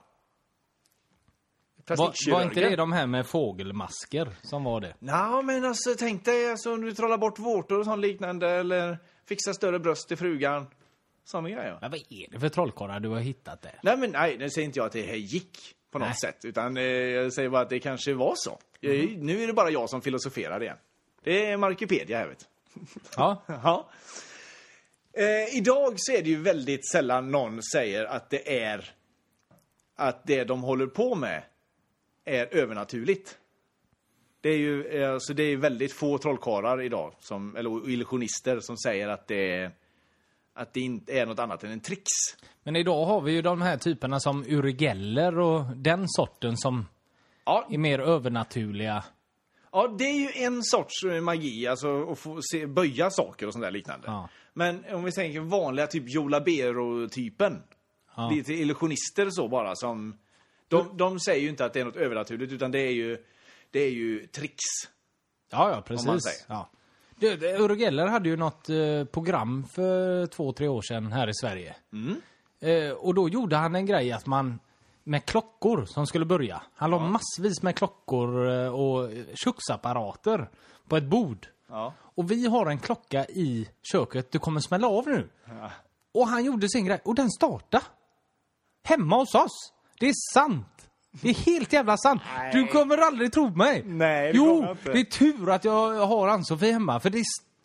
[SPEAKER 3] var, var inte det
[SPEAKER 2] Plastikkirurger.
[SPEAKER 3] de här med fågelmasker som var det?
[SPEAKER 2] Nej, men alltså tänk dig alltså, om du trollar bort vårtor och sånt liknande eller fixar större bröst till frugan. Såna grejer.
[SPEAKER 3] Men vad är det för trollkarlar du har hittat där?
[SPEAKER 2] Nej, men nej, nu säger inte jag att det här gick på något
[SPEAKER 3] Nej.
[SPEAKER 2] sätt, utan eh, jag säger bara att det kanske var så.
[SPEAKER 3] Mm.
[SPEAKER 2] Jag, nu är det bara jag som filosoferar igen. Det är Markipedia, jag vet.
[SPEAKER 3] Ja,
[SPEAKER 2] [LAUGHS] Ja. Eh, idag så är det ju väldigt sällan någon säger att det är att det de håller på med är övernaturligt. Det är ju eh, så det är väldigt få trollkarlar idag, som, eller illusionister, som säger att det, är- att det inte är något annat än en trix.
[SPEAKER 3] men idag har vi ju de här typerna som Urigeller och den sorten som
[SPEAKER 2] Ja,
[SPEAKER 3] är mer övernaturliga.
[SPEAKER 2] Ja, det är ju en sorts eh, magi, alltså att få se, böja saker och sånt där liknande.
[SPEAKER 3] Ja.
[SPEAKER 2] Men om vi tänker vanliga typ Jolabero-typen. Lite illusionister så bara som... De, de säger ju inte att det är något övernaturligt utan det är ju, det är ju tricks.
[SPEAKER 3] Ja, ja,
[SPEAKER 2] man
[SPEAKER 3] precis.
[SPEAKER 2] säger.
[SPEAKER 3] Ja. Du, det- Urgeller hade ju något eh, program för två, tre år sedan här i Sverige.
[SPEAKER 2] Mm.
[SPEAKER 3] Eh, och då gjorde han en grej att man med klockor som skulle börja. Han la massvis med klockor eh, och eh, köksapparater på ett bord.
[SPEAKER 2] Ja.
[SPEAKER 3] Och vi har en klocka i köket. Du kommer smälla av nu. Och han gjorde sin grej och den startade. Hemma hos oss. Det är sant. Det är helt jävla sant. Du kommer aldrig tro mig.
[SPEAKER 2] Nej, det kommer
[SPEAKER 3] Jo,
[SPEAKER 2] jag inte.
[SPEAKER 3] det är tur att jag har Ann-Sofie hemma. För det är,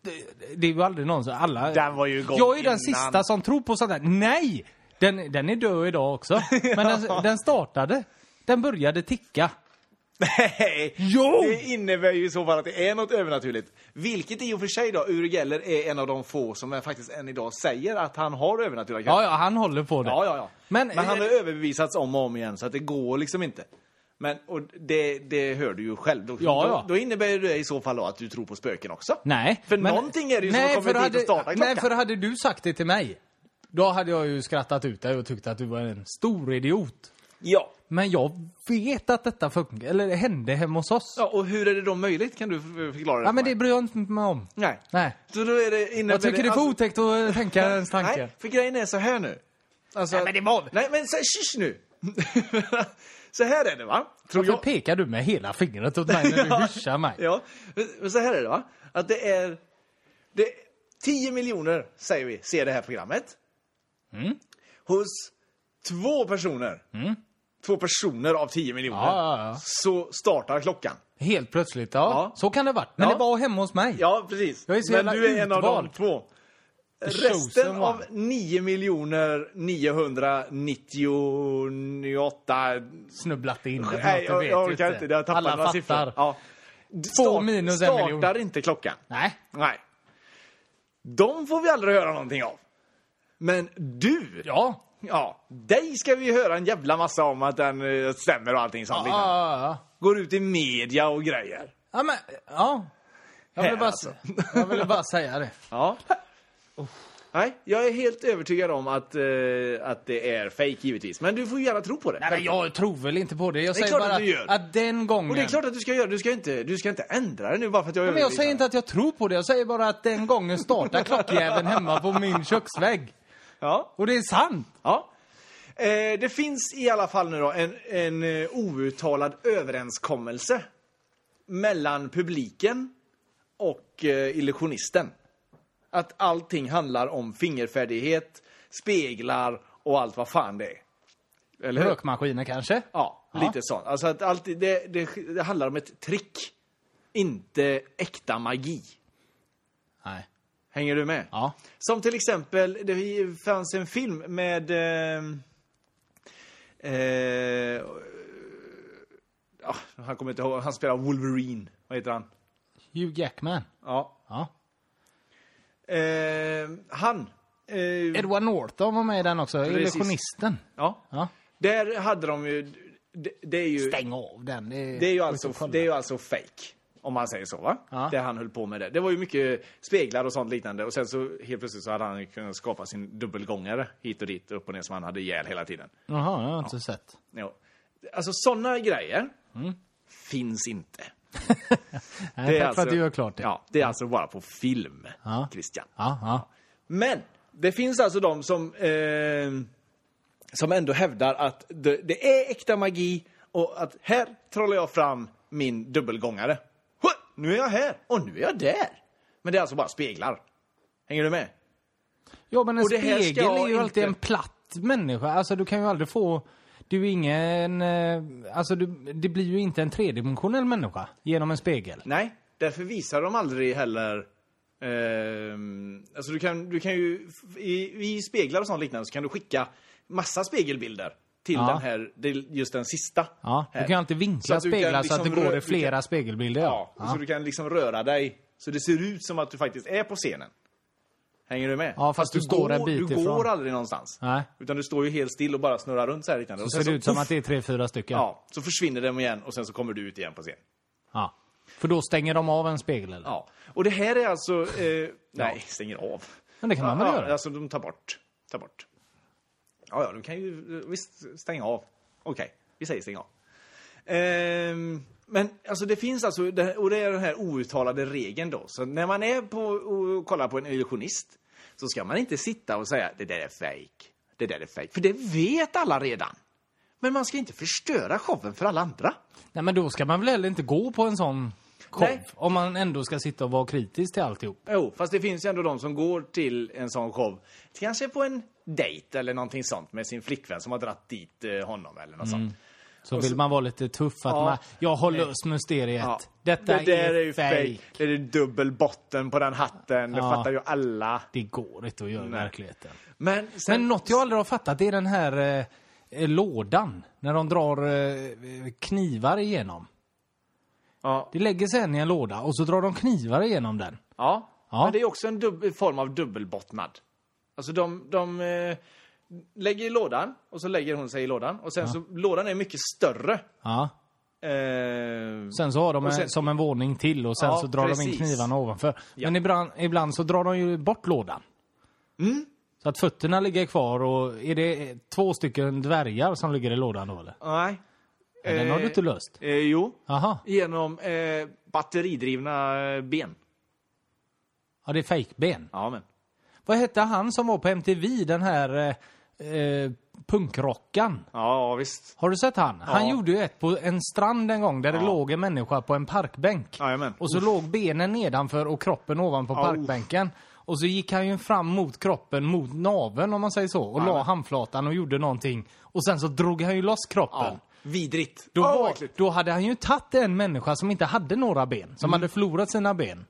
[SPEAKER 3] st- det är ju aldrig någon som... Alla...
[SPEAKER 2] Den var ju igång
[SPEAKER 3] Jag är ju den
[SPEAKER 2] innan.
[SPEAKER 3] sista som tror på sånt där. Nej! Den, den är död
[SPEAKER 2] [LAUGHS]
[SPEAKER 3] idag också. Men den, den startade. Den började ticka.
[SPEAKER 2] Nej!
[SPEAKER 3] [LAUGHS] Jo!
[SPEAKER 2] Det innebär ju i så fall att det är något övernaturligt. Vilket i och för sig då, Uri Geller är en av de få som faktiskt än idag säger att han har övernaturliga
[SPEAKER 3] Ja, ja, han håller på det.
[SPEAKER 2] Ja, ja, ja.
[SPEAKER 3] Men- eh,
[SPEAKER 2] Men, han har överbevisats om och om igen, så att det går liksom inte. Men och det, det hör du ju själv. Då,
[SPEAKER 3] Ja, ja.
[SPEAKER 2] Då, då innebär det i så fall då att du tror på spöken också.
[SPEAKER 3] Nej.
[SPEAKER 2] För någonting är det ju som har
[SPEAKER 3] för
[SPEAKER 2] kommit dit
[SPEAKER 3] hade-
[SPEAKER 2] och startat klockan.
[SPEAKER 3] Nej, för hade du sagt det till mig, då hade jag ju skrattat ut dig och tyckt att du var en stor idiot.
[SPEAKER 2] Ja,
[SPEAKER 3] Men jag vet att detta funkar, eller det hände hemma hos oss.
[SPEAKER 2] Ja, och hur är det då möjligt? Kan du f- förklara det
[SPEAKER 3] Ja,
[SPEAKER 2] för mig?
[SPEAKER 3] men det bryr jag inte mig om.
[SPEAKER 2] Nej.
[SPEAKER 3] Nej.
[SPEAKER 2] Så då är det inne
[SPEAKER 3] Jag tycker det är för otäckt att tänka ens tankar.
[SPEAKER 2] Nej, för grejen är så här nu. Alltså,
[SPEAKER 3] Nej, men det var-
[SPEAKER 2] Nej, men så, shish nu! [LAUGHS] så här är det va? Tror
[SPEAKER 3] Varför pekar du med hela fingret åt mig när du hyschar mig?
[SPEAKER 2] [LAUGHS] Ja, men- men så här är det va? Att det är... Det, 10 miljoner, säger vi, ser det här programmet.
[SPEAKER 3] Mm.
[SPEAKER 2] Hos två personer. Två personer av 10 miljoner.
[SPEAKER 3] Ja, ja, ja.
[SPEAKER 2] Så startar klockan.
[SPEAKER 3] Helt plötsligt, ja.
[SPEAKER 2] Ja.
[SPEAKER 3] Så kan det ha varit. Men
[SPEAKER 2] Ja.
[SPEAKER 3] det var hemma hos mig.
[SPEAKER 2] Ja, precis.
[SPEAKER 3] Jag är så
[SPEAKER 2] Men
[SPEAKER 3] jävla
[SPEAKER 2] du är en av de
[SPEAKER 3] utvald.
[SPEAKER 2] två.
[SPEAKER 3] chosen
[SPEAKER 2] Resten
[SPEAKER 3] one.
[SPEAKER 2] av 9 miljoner 998
[SPEAKER 3] Snubblat in.
[SPEAKER 2] Nej, jag, jag orkar inte. Jag tappade
[SPEAKER 3] Alla
[SPEAKER 2] några
[SPEAKER 3] fattar.
[SPEAKER 2] siffror. Ja.
[SPEAKER 3] Två minus en miljon.
[SPEAKER 2] Startar inte klockan.
[SPEAKER 3] Nej.
[SPEAKER 2] Nej. De får vi aldrig höra någonting av. Men du, ja.
[SPEAKER 3] Ja.
[SPEAKER 2] dig ska vi höra en jävla massa om att den eh, stämmer och allting sånt.
[SPEAKER 3] Ja,
[SPEAKER 2] liksom.
[SPEAKER 3] ja, ja.
[SPEAKER 2] Går ut i media och grejer.
[SPEAKER 3] Ja, men, ja. Jag ville
[SPEAKER 2] Här,
[SPEAKER 3] bara,
[SPEAKER 2] alltså.
[SPEAKER 3] jag ville bara säga det.
[SPEAKER 2] Ja. Nej, jag är helt övertygad om att, eh, att det är fake givetvis. Men du får ju gärna tro på det.
[SPEAKER 3] [LAUGHS] Nej, men jag tror väl inte på det. Jag
[SPEAKER 2] Det är
[SPEAKER 3] säger
[SPEAKER 2] klart
[SPEAKER 3] bara
[SPEAKER 2] att du gör.
[SPEAKER 3] att, den gången...
[SPEAKER 2] Och det är klart att du ska göra det. Du ska inte, du ska inte ändra det nu bara för att jag är
[SPEAKER 3] Nej, men jag säger
[SPEAKER 2] överbevisande.
[SPEAKER 3] inte att jag tror på det. Jag säger bara att den gången startade klockjäveln hemma på min köksvägg.
[SPEAKER 2] Ja.
[SPEAKER 3] Och det är sant.
[SPEAKER 2] Ja. Eh, det finns i alla fall nu då en, en eh, outtalad överenskommelse mellan publiken och eh, illusionisten. Att allting handlar om fingerfärdighet, speglar och allt vad fan det är. Eller hur?
[SPEAKER 3] Rökmaskiner kanske?
[SPEAKER 2] Ja,
[SPEAKER 3] Ja.
[SPEAKER 2] lite sånt. Alltså att allt, det, det, det handlar om ett trick, inte äkta magi.
[SPEAKER 3] Nej.
[SPEAKER 2] Hänger du med?
[SPEAKER 3] Ja.
[SPEAKER 2] Som till exempel, det fanns en film med... Eh, eh, ja, han kommer inte ihåg, han spelar Wolverine. Vad heter han?
[SPEAKER 3] Hugh Jackman.
[SPEAKER 2] Ja.
[SPEAKER 3] Ja.
[SPEAKER 2] Eh, han. Eh,
[SPEAKER 3] Edward Norton var med i den också.
[SPEAKER 2] Precis.
[SPEAKER 3] Illusionisten.
[SPEAKER 2] ja.
[SPEAKER 3] Ja.
[SPEAKER 2] Där hade de ju... Det, det är ju,
[SPEAKER 3] Stäng av den. Det,
[SPEAKER 2] det är ju
[SPEAKER 3] Ut och
[SPEAKER 2] alltså,
[SPEAKER 3] kolla.
[SPEAKER 2] det är ju alltså fake. Om man säger så, va?
[SPEAKER 3] Ja.
[SPEAKER 2] Det han höll på med det. Det var ju mycket speglar och sånt liknande. Och sen så helt plötsligt så hade han kunnat skapa sin dubbelgångare hit och dit, upp och ner, som han hade ihjäl hela tiden.
[SPEAKER 3] Jaha, jag har inte sett.
[SPEAKER 2] Ja. Alltså sådana grejer finns inte. alltså-
[SPEAKER 3] Nej, tack Mm. för att du gör klart det.
[SPEAKER 2] Ja, det är alltså bara på film,
[SPEAKER 3] Ja.
[SPEAKER 2] Christian.
[SPEAKER 3] Ja, ja.
[SPEAKER 2] Men det finns alltså de som, eh, som ändå hävdar att det, det är äkta magi och att här trollar jag fram min dubbelgångare. Huh! Nu är jag här och nu är jag där. Men det är alltså bara speglar. Hänger du med?
[SPEAKER 3] Ja, men en
[SPEAKER 2] Och det här ska
[SPEAKER 3] spegel
[SPEAKER 2] jag
[SPEAKER 3] är ju alltid
[SPEAKER 2] inte-
[SPEAKER 3] en platt människa. Alltså, du kan ju aldrig få... Du är ingen... eh, Alltså, du, det blir ju inte en tredimensionell människa genom en spegel.
[SPEAKER 2] Nej, därför visar de aldrig heller... ehm, alltså du kan, du kan ju, i, I speglar och sånt liknande så kan du skicka massa spegelbilder till
[SPEAKER 3] Ja.
[SPEAKER 2] den här, till just den sista.
[SPEAKER 3] Ja,
[SPEAKER 2] här.
[SPEAKER 3] du kan ju alltid
[SPEAKER 2] Så
[SPEAKER 3] vinkla
[SPEAKER 2] att du kan
[SPEAKER 3] speglar så
[SPEAKER 2] liksom
[SPEAKER 3] att det
[SPEAKER 2] rö-
[SPEAKER 3] går
[SPEAKER 2] du
[SPEAKER 3] i flera spegelbilder.
[SPEAKER 2] Ja,
[SPEAKER 3] Ja.
[SPEAKER 2] Så
[SPEAKER 3] Ja.
[SPEAKER 2] du kan liksom röra dig, så det ser ut som att du faktiskt är på scenen. Hänger du med?
[SPEAKER 3] Ja, fast du står en bit
[SPEAKER 2] Du går
[SPEAKER 3] ifrån.
[SPEAKER 2] aldrig någonstans.
[SPEAKER 3] Nej.
[SPEAKER 2] Utan du står ju helt still och bara snurrar runt så här. liknande. Och
[SPEAKER 3] Så
[SPEAKER 2] sen
[SPEAKER 3] ser det ut som
[SPEAKER 2] puff,
[SPEAKER 3] att det är tre, fyra stycken. Ja.
[SPEAKER 2] Ja, så försvinner de igen och sen så kommer du ut igen på scen.
[SPEAKER 3] För då stänger de av en spegel, eller?
[SPEAKER 2] Ja, och det här är alltså... Eh, nej, stänger av.
[SPEAKER 3] Men det kan man väl
[SPEAKER 2] ja,
[SPEAKER 3] göra?
[SPEAKER 2] Alltså de tar bort. Tar bort. Ja, ja, de kan ju eh, visst stänga av. Okej, vi säger stänga av. Ehm, men alltså det finns alltså, det här- och det är den här outtalade regeln då. Så när man är på och kollar på en illusionist så ska man inte sitta och säga det där är fake. Det där är fake. För det vet alla redan. Men man ska inte förstöra showen för alla andra.
[SPEAKER 3] Nej, men då ska man väl heller inte gå på en sån show?
[SPEAKER 2] Nej.
[SPEAKER 3] Om man ändå ska sitta och vara kritisk till alltihop.
[SPEAKER 2] Jo, fast det finns ju ändå de som går till en sån show. Kanske på en dejt eller någonting sånt med sin flickvän som har dratt dit eh, honom eller
[SPEAKER 3] Mm.
[SPEAKER 2] något sånt.
[SPEAKER 3] Så vill man vara lite tuff att
[SPEAKER 2] Ja.
[SPEAKER 3] man, jag har löst mysteriet.
[SPEAKER 2] Ja.
[SPEAKER 3] Detta
[SPEAKER 2] det där är ju
[SPEAKER 3] fake.
[SPEAKER 2] fake. Det är dubbel botten på den hatten, det
[SPEAKER 3] Ja.
[SPEAKER 2] fattar ju alla.
[SPEAKER 3] Det går inte att göra i verkligheten.
[SPEAKER 2] Men, sen,
[SPEAKER 3] Men något jag aldrig har fattat det är den här eh, eh, lådan. När de drar eh, knivar igenom.
[SPEAKER 2] ja,
[SPEAKER 3] Det lägger sig en i en låda och så drar de knivar igenom den.
[SPEAKER 2] ja.
[SPEAKER 3] Ja.
[SPEAKER 2] men det är också en dubb- form av dubbelbottnad. Alltså de, de eh, lägger i lådan och så lägger hon sig i lådan och sen så, lådan är mycket större.
[SPEAKER 3] Ja.
[SPEAKER 2] Eh,
[SPEAKER 3] Sen så har de
[SPEAKER 2] Och
[SPEAKER 3] en,
[SPEAKER 2] sen-
[SPEAKER 3] som en våning till och sen
[SPEAKER 2] Ja,
[SPEAKER 3] så drar de in
[SPEAKER 2] precis.
[SPEAKER 3] knivarna ovanför.
[SPEAKER 2] Ja. Mm.
[SPEAKER 3] Men ibland, ibland så drar de ju bort lådan. Så att fötterna ligger kvar och är det två stycken dvärgar som ligger i lådan då eller?
[SPEAKER 2] Nej.
[SPEAKER 3] Ja, Den har du inte löst?
[SPEAKER 2] Eh, jo,
[SPEAKER 3] Aha.
[SPEAKER 2] genom eh, batteridrivna eh, ben.
[SPEAKER 3] Ja, det är fejkben.
[SPEAKER 2] Ja, men.
[SPEAKER 3] Vad hette han som var på MTV, den här eh, eh, punkrockan?
[SPEAKER 2] Ja, visst.
[SPEAKER 3] Har du sett han? Han
[SPEAKER 2] Ja.
[SPEAKER 3] gjorde ju ett på en strand en gång där det låg en människa på en parkbänk.
[SPEAKER 2] Jajamän.
[SPEAKER 3] Och så låg benen nedanför och kroppen ovanpå
[SPEAKER 2] Ja, uff.
[SPEAKER 3] parkbänken. Och så gick han ju fram mot kroppen, mot naveln om man säger så, och la
[SPEAKER 2] Jajamän.
[SPEAKER 3] handflatan och gjorde någonting. Och sen så drog han ju loss kroppen.
[SPEAKER 2] Ja. Vidrigt.
[SPEAKER 3] Då,
[SPEAKER 2] Ja,
[SPEAKER 3] var,
[SPEAKER 2] verkligen.
[SPEAKER 3] då hade han ju tagit en människa som inte hade några ben,
[SPEAKER 2] Mm.
[SPEAKER 3] som hade förlorat sina ben.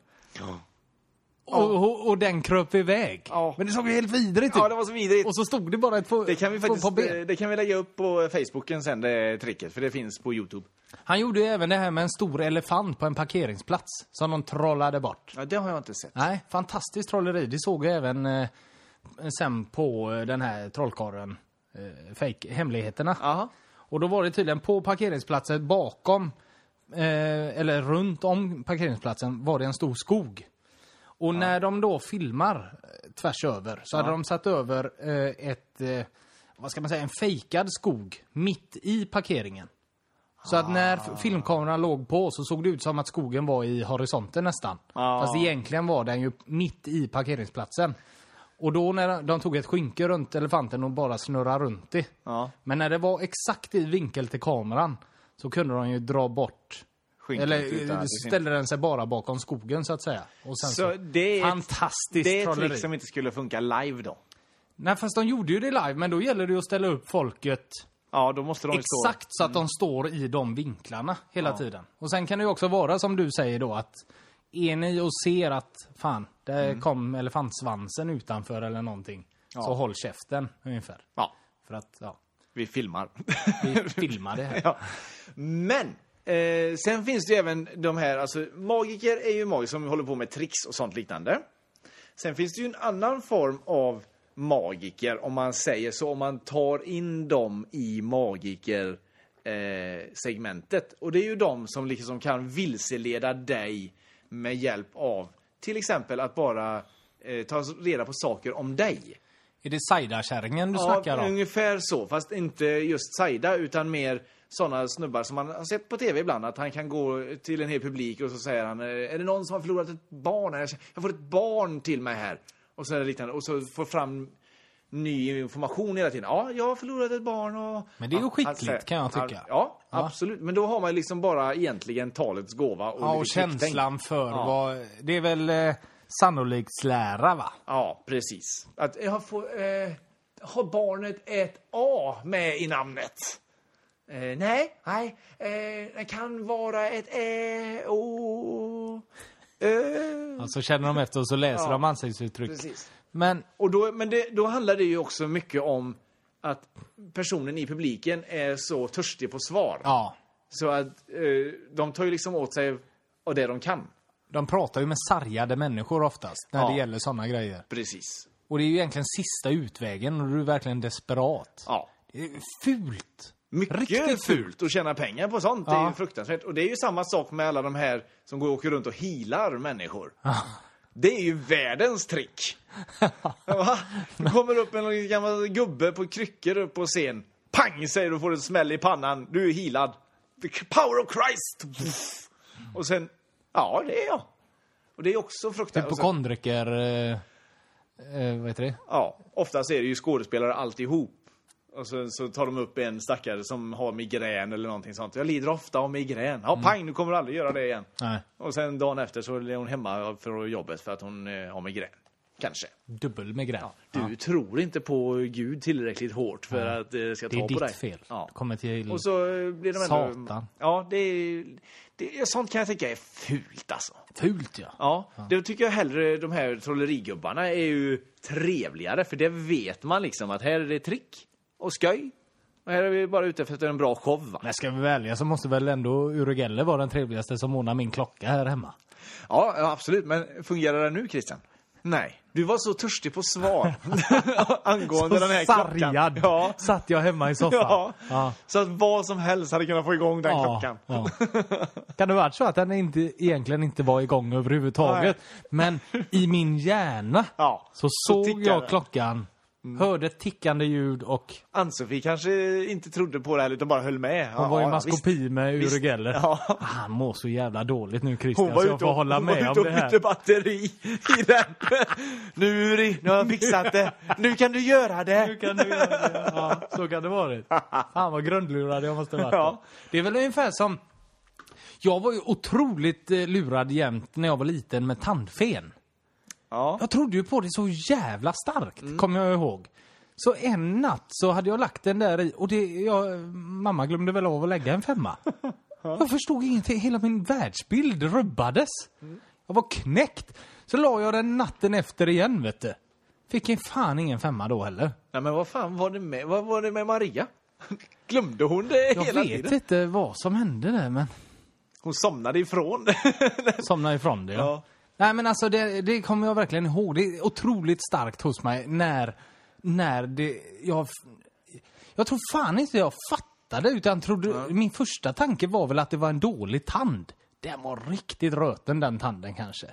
[SPEAKER 3] Och, och, och den kröp iväg.
[SPEAKER 2] Ja.
[SPEAKER 3] Men det såg ju helt vidrigt ut.
[SPEAKER 2] Ja, det var så vidrigt.
[SPEAKER 3] Och så stod det bara ett på,
[SPEAKER 2] Det kan, vi faktiskt,
[SPEAKER 3] på ben.
[SPEAKER 2] eh, det kan vi lägga upp på Facebooken sen, det tricket. För det finns på Youtube.
[SPEAKER 3] Han gjorde ju även det här med en stor elefant på en parkeringsplats som de trollade bort.
[SPEAKER 2] Ja, det har jag inte sett.
[SPEAKER 3] Nej, fantastiskt trolleri. Det såg jag även eh, sen på eh, den här trollkarlen, eh, fake hemligheterna.
[SPEAKER 2] Aha.
[SPEAKER 3] Och då var det tydligen på parkeringsplatsen bakom, eh, eller runt om parkeringsplatsen, var det en stor skog. Och när de då filmar eh, tvärs över så hade de satt över eh, ett, eh, vad ska man säga, en fejkad skog mitt i parkeringen. Så att när f- filmkameran låg på så såg det ut som att skogen var i horisonten nästan.
[SPEAKER 2] Ah.
[SPEAKER 3] Fast egentligen var den ju mitt i parkeringsplatsen. Och då när de tog ett skynke runt elefanten och bara snurrade runt det.
[SPEAKER 2] Ja.
[SPEAKER 3] Men när det var exakt i vinkel till kameran så kunde de ju dra bort.
[SPEAKER 2] Skynket
[SPEAKER 3] Eller
[SPEAKER 2] utan
[SPEAKER 3] eh,
[SPEAKER 2] att det
[SPEAKER 3] ställde den sig bara bakom skogen så att säga. Och sen så,
[SPEAKER 2] Så det är ett-
[SPEAKER 3] fantastiskt
[SPEAKER 2] Det är ett liksom-
[SPEAKER 3] trolleri.
[SPEAKER 2] trick som inte skulle funka live då.
[SPEAKER 3] Nej fast de gjorde ju det live men då gäller det ju att ställa upp folket
[SPEAKER 2] Ja, då måste de ju stå-
[SPEAKER 3] Exakt så att
[SPEAKER 2] Mm.
[SPEAKER 3] de står i de vinklarna hela tiden. Och sen kan det ju också vara som du säger då att är ni och ser att fan, där
[SPEAKER 2] Mm.
[SPEAKER 3] kom elefantsvansen utanför eller någonting. Så håll käften ungefär.
[SPEAKER 2] Ja,
[SPEAKER 3] För att, ja,
[SPEAKER 2] vi filmar.
[SPEAKER 3] vi filmar det här.
[SPEAKER 2] [LAUGHS] ja. Men! Eh, sen finns det ju även de här, alltså magiker är ju magiker som håller på med tricks och sånt liknande. Sen finns det ju en annan form av magiker, om man säger så, om man tar in dem i magiker eh, segmentet. Och det är ju de som liksom kan vilseleda dig med hjälp av till exempel att bara eh, ta reda på saker om dig.
[SPEAKER 3] Är det Saida-kärringen du snackar om?
[SPEAKER 2] ungefär så. Fast inte just Saida, utan mer sådana snubbar som man har sett på tv ibland. Att han kan gå till en hel publik och så säger han eh, Är det någon som har förlorat ett barn? här? Jag får ett barn till mig här. Och så är det liknande. Och så får fram ny information hela tiden. Ja, jag har förlorat ett barn och...
[SPEAKER 3] Men det är ju
[SPEAKER 2] Ja,
[SPEAKER 3] skickligt,
[SPEAKER 2] säger-
[SPEAKER 3] kan jag tycka.
[SPEAKER 2] Han, ja, absolut. Men då har man liksom bara egentligen talets gåva. Och,
[SPEAKER 3] Ja, och
[SPEAKER 2] lite knäcktänk.
[SPEAKER 3] känslan för
[SPEAKER 2] Ja.
[SPEAKER 3] vad... Det är väl eh, sannolikt lära va?
[SPEAKER 2] Ja, precis. Att jag får, eh, har barnet ett A med i namnet? Eh, nej, nej. Eh, det kan vara ett Ä, O... Eh,
[SPEAKER 3] Och så Alltså, känner de efter och så läser
[SPEAKER 2] Ja.
[SPEAKER 3] de ansiktsuttryck.
[SPEAKER 2] precis.
[SPEAKER 3] Men
[SPEAKER 2] Och då, men det, då handlar det ju också mycket om att personen i publiken är så törstig på svar.
[SPEAKER 3] ja,
[SPEAKER 2] Så att eh, de tar ju liksom åt sig av det de kan.
[SPEAKER 3] de pratar ju med sargade människor oftast när
[SPEAKER 2] Ja.
[SPEAKER 3] det gäller sådana grejer.
[SPEAKER 2] Precis.
[SPEAKER 3] Och det är ju egentligen sista utvägen och du är verkligen desperat.
[SPEAKER 2] Ja.
[SPEAKER 3] Det är fult!
[SPEAKER 2] Mycket
[SPEAKER 3] Riktigt
[SPEAKER 2] fult. att tjäna pengar på sånt. Det är
[SPEAKER 3] Ja.
[SPEAKER 2] ju fruktansvärt. Och det är ju samma sak med alla de här som går och åker runt och healar människor. Det är ju världens trick. Va? Det kommer upp en gammal gubbe på kryckor upp på scen. Pang säger du och får en smäll i pannan. Du är healad. The power of Christ! Pff. Och sen, ja det är jag. Och det är också fruktansvärt. Och sen-
[SPEAKER 3] Hypokondriker... Eh, eh, vad heter det?
[SPEAKER 2] Ja, oftast är det ju skådespelare alltihop. Och så, så tar de upp en stackare som har migrän eller någonting sånt. Jag lider ofta av migrän.
[SPEAKER 3] Mm.
[SPEAKER 2] Ja, pang, nu kommer du aldrig göra det igen.
[SPEAKER 3] Nej,
[SPEAKER 2] Och sen dagen efter så är hon hemma från jobbet för att hon eh, har migrän. Kanske.
[SPEAKER 3] dubbel migrän.
[SPEAKER 2] Du tror inte på Gud tillräckligt hårt för att eh, ska
[SPEAKER 3] Det är
[SPEAKER 2] ta på dig.
[SPEAKER 3] ditt fel.
[SPEAKER 2] Ja.
[SPEAKER 3] Kommer till...
[SPEAKER 2] Och så eh, blir de ändå...
[SPEAKER 3] Satan.
[SPEAKER 2] Ja, det är, det är... Sånt kan jag tycka är fult alltså.
[SPEAKER 3] Fult ja.
[SPEAKER 2] Ja, det tycker jag hellre de här trollerigubbarna är ju trevligare för det vet man liksom att här är det trick och skoj. Och här är vi bara ute efter en bra show va?
[SPEAKER 3] Men ska vi välja så måste väl ändå Urugelle vara den trevligaste som ordnar min klocka här hemma.
[SPEAKER 2] Ja, ja, absolut. Men fungerar det nu Christian? Nej. Du var så törstig på svar [LAUGHS] angående den här klockan.
[SPEAKER 3] sargad
[SPEAKER 2] Ja.
[SPEAKER 3] satt jag hemma i soffan.
[SPEAKER 2] Ja.
[SPEAKER 3] Ja.
[SPEAKER 2] Så att vad som helst hade kunnat få igång den klockan. [LAUGHS]
[SPEAKER 3] Ja. Kan det vara så att den inte, egentligen inte var igång överhuvudtaget? Men i min hjärna
[SPEAKER 2] [LAUGHS] Ja,
[SPEAKER 3] så
[SPEAKER 2] så Mm.
[SPEAKER 3] såg
[SPEAKER 2] tickar
[SPEAKER 3] jag
[SPEAKER 2] den.
[SPEAKER 3] klockan Hörde ett tickande ljud och
[SPEAKER 2] Ann-Sofie kanske inte trodde på det här utan bara höll med.
[SPEAKER 3] hon var i
[SPEAKER 2] Ja, visst.
[SPEAKER 3] maskopi med Uri
[SPEAKER 2] Visst.
[SPEAKER 3] Geller. Ah,
[SPEAKER 2] Ja.
[SPEAKER 3] Han mår så jävla dåligt nu
[SPEAKER 2] Hon
[SPEAKER 3] Christian,
[SPEAKER 2] var
[SPEAKER 3] så jag
[SPEAKER 2] ute
[SPEAKER 3] får
[SPEAKER 2] och,
[SPEAKER 3] hålla
[SPEAKER 2] hon var
[SPEAKER 3] med
[SPEAKER 2] ute
[SPEAKER 3] om
[SPEAKER 2] och
[SPEAKER 3] det här.
[SPEAKER 2] bytte batteri i den. [LAUGHS] Nu Uri, nu har jag fixat det. Nu kan du göra
[SPEAKER 3] Hur
[SPEAKER 2] det.
[SPEAKER 3] kan du göra det? Ja, så kan det vara. Fan vad grundlurad jag måste ha varit. då.
[SPEAKER 2] Ja.
[SPEAKER 3] Det är väl ungefär som... Jag var ju otroligt eh, lurad jämt när jag var liten med tandfen.
[SPEAKER 2] Ja.
[SPEAKER 3] Jag trodde ju på det så jävla starkt, kommer jag ihåg. Så en natt så hade jag lagt den där i och det, jag, mamma glömde väl av att lägga en femma. Jag förstod ingenting, hela min världsbild rubbades. Jag var knäckt. Så la jag den natten efter igen vet du. Fick en fan ingen femma då heller.
[SPEAKER 2] Nej, men vad fan var det med, vad var det med Maria? Glömde hon det
[SPEAKER 3] Jag
[SPEAKER 2] hela
[SPEAKER 3] vet
[SPEAKER 2] tiden?
[SPEAKER 3] inte vad som hände där men
[SPEAKER 2] Hon somnade ifrån. [LAUGHS]
[SPEAKER 3] somnade ifrån det. Ja.
[SPEAKER 2] Ja.
[SPEAKER 3] Nej men alltså det, det kommer jag verkligen ihåg. Det är otroligt starkt hos mig när, när det, jag, jag tror fan inte jag fattade utan trodde, min första tanke var väl att det var en dålig tand. Den var riktigt röten den tanden kanske.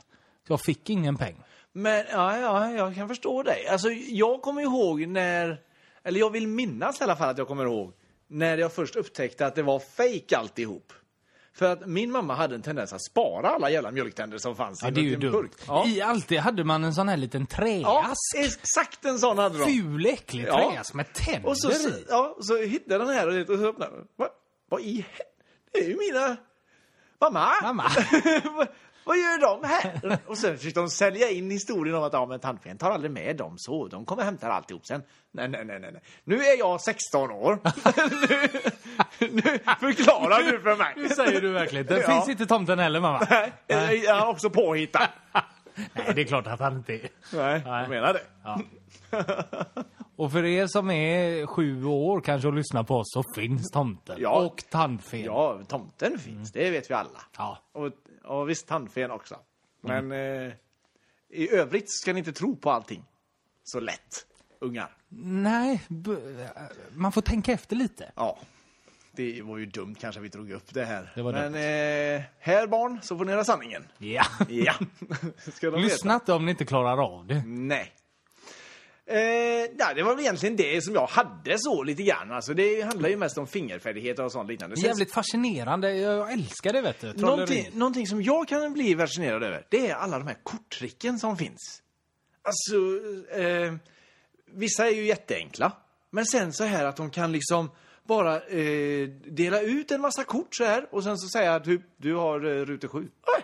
[SPEAKER 3] Så jag fick ingen peng.
[SPEAKER 2] Men ja, ja, jag kan förstå dig. Alltså, jag kommer ihåg när, eller jag vill minnas i alla fall att jag kommer ihåg, när jag först upptäckte att det var fejk alltihop. För att min mamma hade en tendens att spara alla jävla mjölktänder som fanns
[SPEAKER 3] Ja, det är ju
[SPEAKER 2] en
[SPEAKER 3] dumt.
[SPEAKER 2] Ja.
[SPEAKER 3] I alltid hade man en sån här liten
[SPEAKER 2] ja,
[SPEAKER 3] träask.
[SPEAKER 2] exakt en sån hade de.
[SPEAKER 3] Ful äcklig
[SPEAKER 2] Ja.
[SPEAKER 3] träask med tänder
[SPEAKER 2] Och så,
[SPEAKER 3] i.
[SPEAKER 2] ja, så hittade den här och så öppnade den. Vad, vad i hel- Det är ju mina... Mamma! [LAUGHS]
[SPEAKER 3] Mamma.
[SPEAKER 2] vad, vad gör de här? Och sen försökte de sälja in historien om att ja, men tandfen tar aldrig med dem så. De kommer hämta alltihop sen. Nej, nej, nej, nej. nej. Nu är jag 16 [LAUGHS] år. nu, nu förklarar du för mig.
[SPEAKER 3] Nu säger du verkligen. Det
[SPEAKER 2] Ja.
[SPEAKER 3] finns inte tomten heller mamma.
[SPEAKER 2] Nej. Är han också påhittad?
[SPEAKER 3] Nej, det är klart att han inte är.
[SPEAKER 2] Nej, jag menar det.
[SPEAKER 3] Och för er som är sju år kanske och lyssnar på oss så finns tomten.
[SPEAKER 2] Ja.
[SPEAKER 3] Och tandfen.
[SPEAKER 2] Ja, tomten finns. Det vet vi alla.
[SPEAKER 3] Ja.
[SPEAKER 2] Och, och visst, tandfen också.
[SPEAKER 3] Mm.
[SPEAKER 2] Men eh, i övrigt ska ni inte tro på allting så lätt, ungar.
[SPEAKER 3] Nej, b- man får tänka efter lite.
[SPEAKER 2] Ja, det var ju dumt kanske vi drog upp det här.
[SPEAKER 3] Det var
[SPEAKER 2] Men eh, här barn, så får ni höra sanningen.
[SPEAKER 3] Ja.
[SPEAKER 2] Ja, [LAUGHS] ska de
[SPEAKER 3] Lyssna inte om ni inte klarar av det.
[SPEAKER 2] veta. Nej. Eh, nej, det var väl egentligen det som jag hade så lite grann. Alltså, det handlar ju mest om fingerfärdigheter och sånt liknande. Sen-
[SPEAKER 3] Jävligt fascinerande. Jag älskar det vet du. Trolleri.
[SPEAKER 2] Någonting, någonting som jag kan bli fascinerad över, det är alla de här korttricken som finns. Alltså, eh, vissa är ju jätteenkla, men sen så här att de kan liksom bara eh, dela ut en massa kort så här och sen så säga att du, du har eh, rute 7. Oj, oj,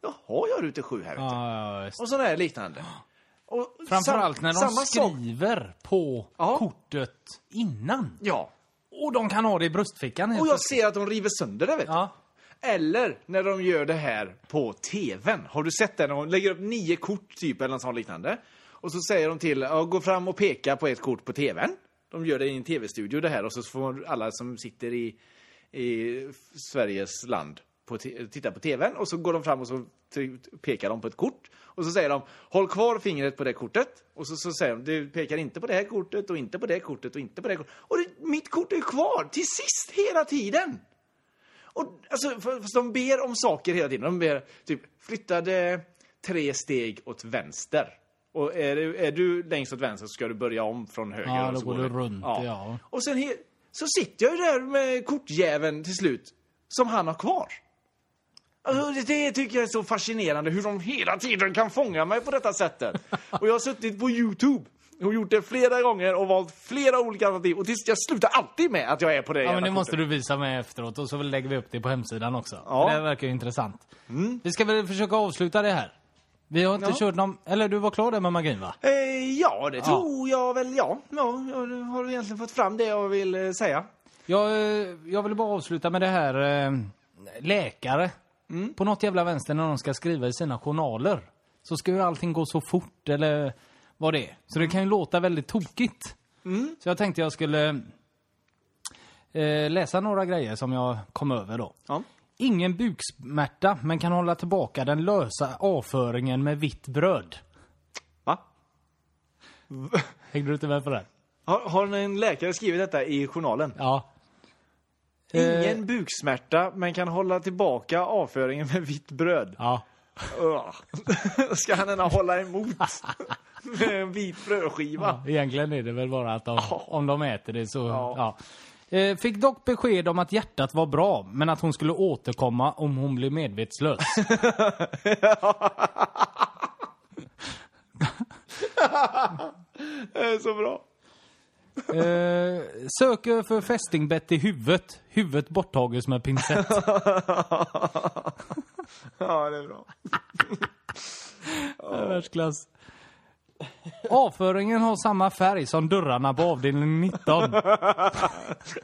[SPEAKER 2] Jaha, jag har rute 7 här vet du.
[SPEAKER 3] Ja, ja, just.
[SPEAKER 2] Och sådana här liknande. Och sam-
[SPEAKER 3] Framförallt när de
[SPEAKER 2] samma sak-
[SPEAKER 3] skriver på
[SPEAKER 2] Ja.
[SPEAKER 3] kortet innan.
[SPEAKER 2] Ja,
[SPEAKER 3] Och de kan ha det i bröstfickan. helt
[SPEAKER 2] och jag
[SPEAKER 3] plötsligt.
[SPEAKER 2] ser att de river sönder det vet du.
[SPEAKER 3] Ja.
[SPEAKER 2] Eller när de gör det här på tvn. Har du sett det? När de lägger upp nio kort typ eller något sånt liknande. Och så säger de till, ja, gå fram och peka på ett kort på tvn. De gör det i en tv-studio det här och så får alla som sitter i, i Sveriges land på t- titta på tvn och så går de fram och så t- pekar de på ett kort. Och så säger de, håll kvar fingret på det kortet. Och så, så säger de, du pekar inte på det här kortet och inte på det kortet och inte på det kortet. Och det, mitt kort är kvar till sist hela tiden! Och, alltså, för- fast de ber om saker hela tiden. De ber typ flyttade tre steg åt vänster. Och är du, är du längst åt vänster så ska du börja om från höger.
[SPEAKER 3] Ja,
[SPEAKER 2] och
[SPEAKER 3] då
[SPEAKER 2] så
[SPEAKER 3] går du runt, ja.
[SPEAKER 2] Och sen he- så sitter jag ju där med kortjäveln till slut, som han har kvar. Alltså, det- det tycker jag är så fascinerande, hur de hela tiden kan fånga mig på detta
[SPEAKER 3] [LAUGHS]
[SPEAKER 2] sättet. Och jag har suttit på Youtube och gjort det flera gånger och valt flera olika alternativ. Och tills jag slutar alltid med att jag är på det
[SPEAKER 3] Ja, men
[SPEAKER 2] jävla
[SPEAKER 3] det måste
[SPEAKER 2] kortet.
[SPEAKER 3] du visa mig efteråt och så lägger vi upp det på hemsidan också.
[SPEAKER 2] Ja. Mm.
[SPEAKER 3] Det här verkar ju intressant. Vi ska väl försöka avsluta det här. Vi har inte
[SPEAKER 2] Ja.
[SPEAKER 3] kört någon... Eller du var klar där med magin va?
[SPEAKER 2] Eh, ja, det tror jag väl. Ja, ja, jag har egentligen fått fram det jag vill eh, säga.
[SPEAKER 3] Jag, eh, jag vill bara avsluta med det här eh, läkare.
[SPEAKER 2] Mm.
[SPEAKER 3] På något jävla vänster när de ska skriva i sina journaler så ska ju allting gå så fort eller vad det är.
[SPEAKER 2] Mm.
[SPEAKER 3] Så det kan ju låta väldigt tokigt. Så jag tänkte jag skulle eh, läsa några grejer som jag kom över då.
[SPEAKER 2] Ja.
[SPEAKER 3] Ingen buksmärta men kan hålla tillbaka den lösa avföringen med vitt bröd.
[SPEAKER 2] Va?
[SPEAKER 3] Hängde du inte med på det? här?
[SPEAKER 2] Har, har en läkare skrivit detta i journalen?
[SPEAKER 3] Ja.
[SPEAKER 2] Eh. Ingen buksmärta, men kan hålla tillbaka avföringen med vitt bröd.
[SPEAKER 3] Ja.
[SPEAKER 2] Ugh. [LAUGHS] Ska han ändå hålla emot med en vit brödskiva?
[SPEAKER 3] Egentligen är det väl bara att de, om de äter det så...
[SPEAKER 2] Ja.
[SPEAKER 3] Ja. Eh, Fick dock besked om att hjärtat var bra, men att hon skulle återkomma om hon blev [LAUGHS] medvetslös.
[SPEAKER 2] Det är så [LAUGHS] bra.
[SPEAKER 3] Eh, söker för fästingbett i huvudet. Huvudet borttages med pincett.
[SPEAKER 2] Ja, det är bra.
[SPEAKER 3] [LAUGHS] Världsklass. Avföringen har samma färg som dörrarna på avdelning 19.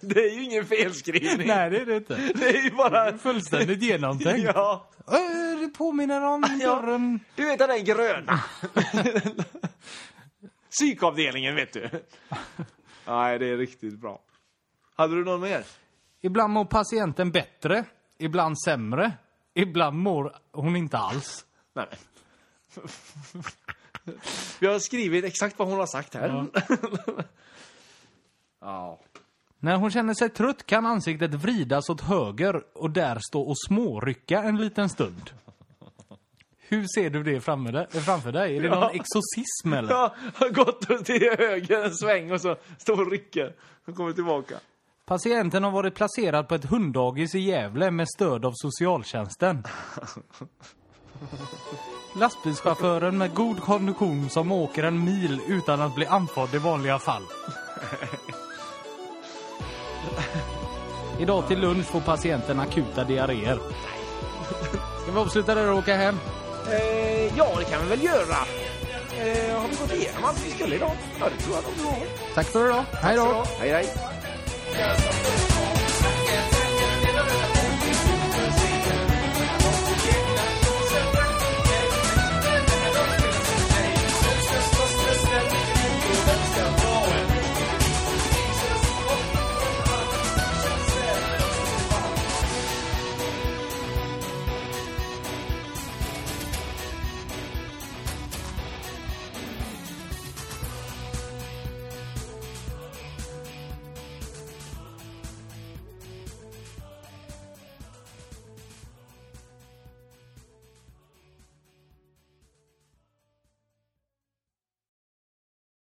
[SPEAKER 2] Det är ju ingen felskrivning.
[SPEAKER 3] [LAUGHS] Nej, det är det inte.
[SPEAKER 2] Det är ju bara...
[SPEAKER 3] Fullständigt genomtänkt.
[SPEAKER 2] Ja.
[SPEAKER 3] Eh, Det påminner om dörren.
[SPEAKER 2] Du vet den där gröna? [LAUGHS] Psykavdelningen, vet du. Nej, det är riktigt bra. Hade du någon mer?
[SPEAKER 3] Ibland mår patienten bättre, ibland sämre. Ibland mår hon inte alls.
[SPEAKER 2] Nej. Vi har skrivit exakt vad hon har sagt här. Ja.
[SPEAKER 3] När hon känner sig trött kan ansiktet vridas åt höger och där stå och smårycka en liten stund. Hur ser du det framme där- framför dig? Är det någon exorcism eller?
[SPEAKER 2] Ja, har gått till höger en sväng och så står och rycker. Och kommer tillbaka.
[SPEAKER 3] Patienten har varit placerad på ett hunddagis i Gävle med stöd av socialtjänsten. Lastbilschauffören med god kondition som åker en mil utan att bli andfådd i vanliga fall. Idag till lunch får patienten akuta diarréer. Ska vi avsluta där och åka hem?
[SPEAKER 2] Eh, ja, det kan vi väl göra. Eh, har vi gått igenom allt vi skulle idag? Ja, det tror jag nog vi har.
[SPEAKER 3] Tack för idag. Hej då!
[SPEAKER 2] Hej, hej.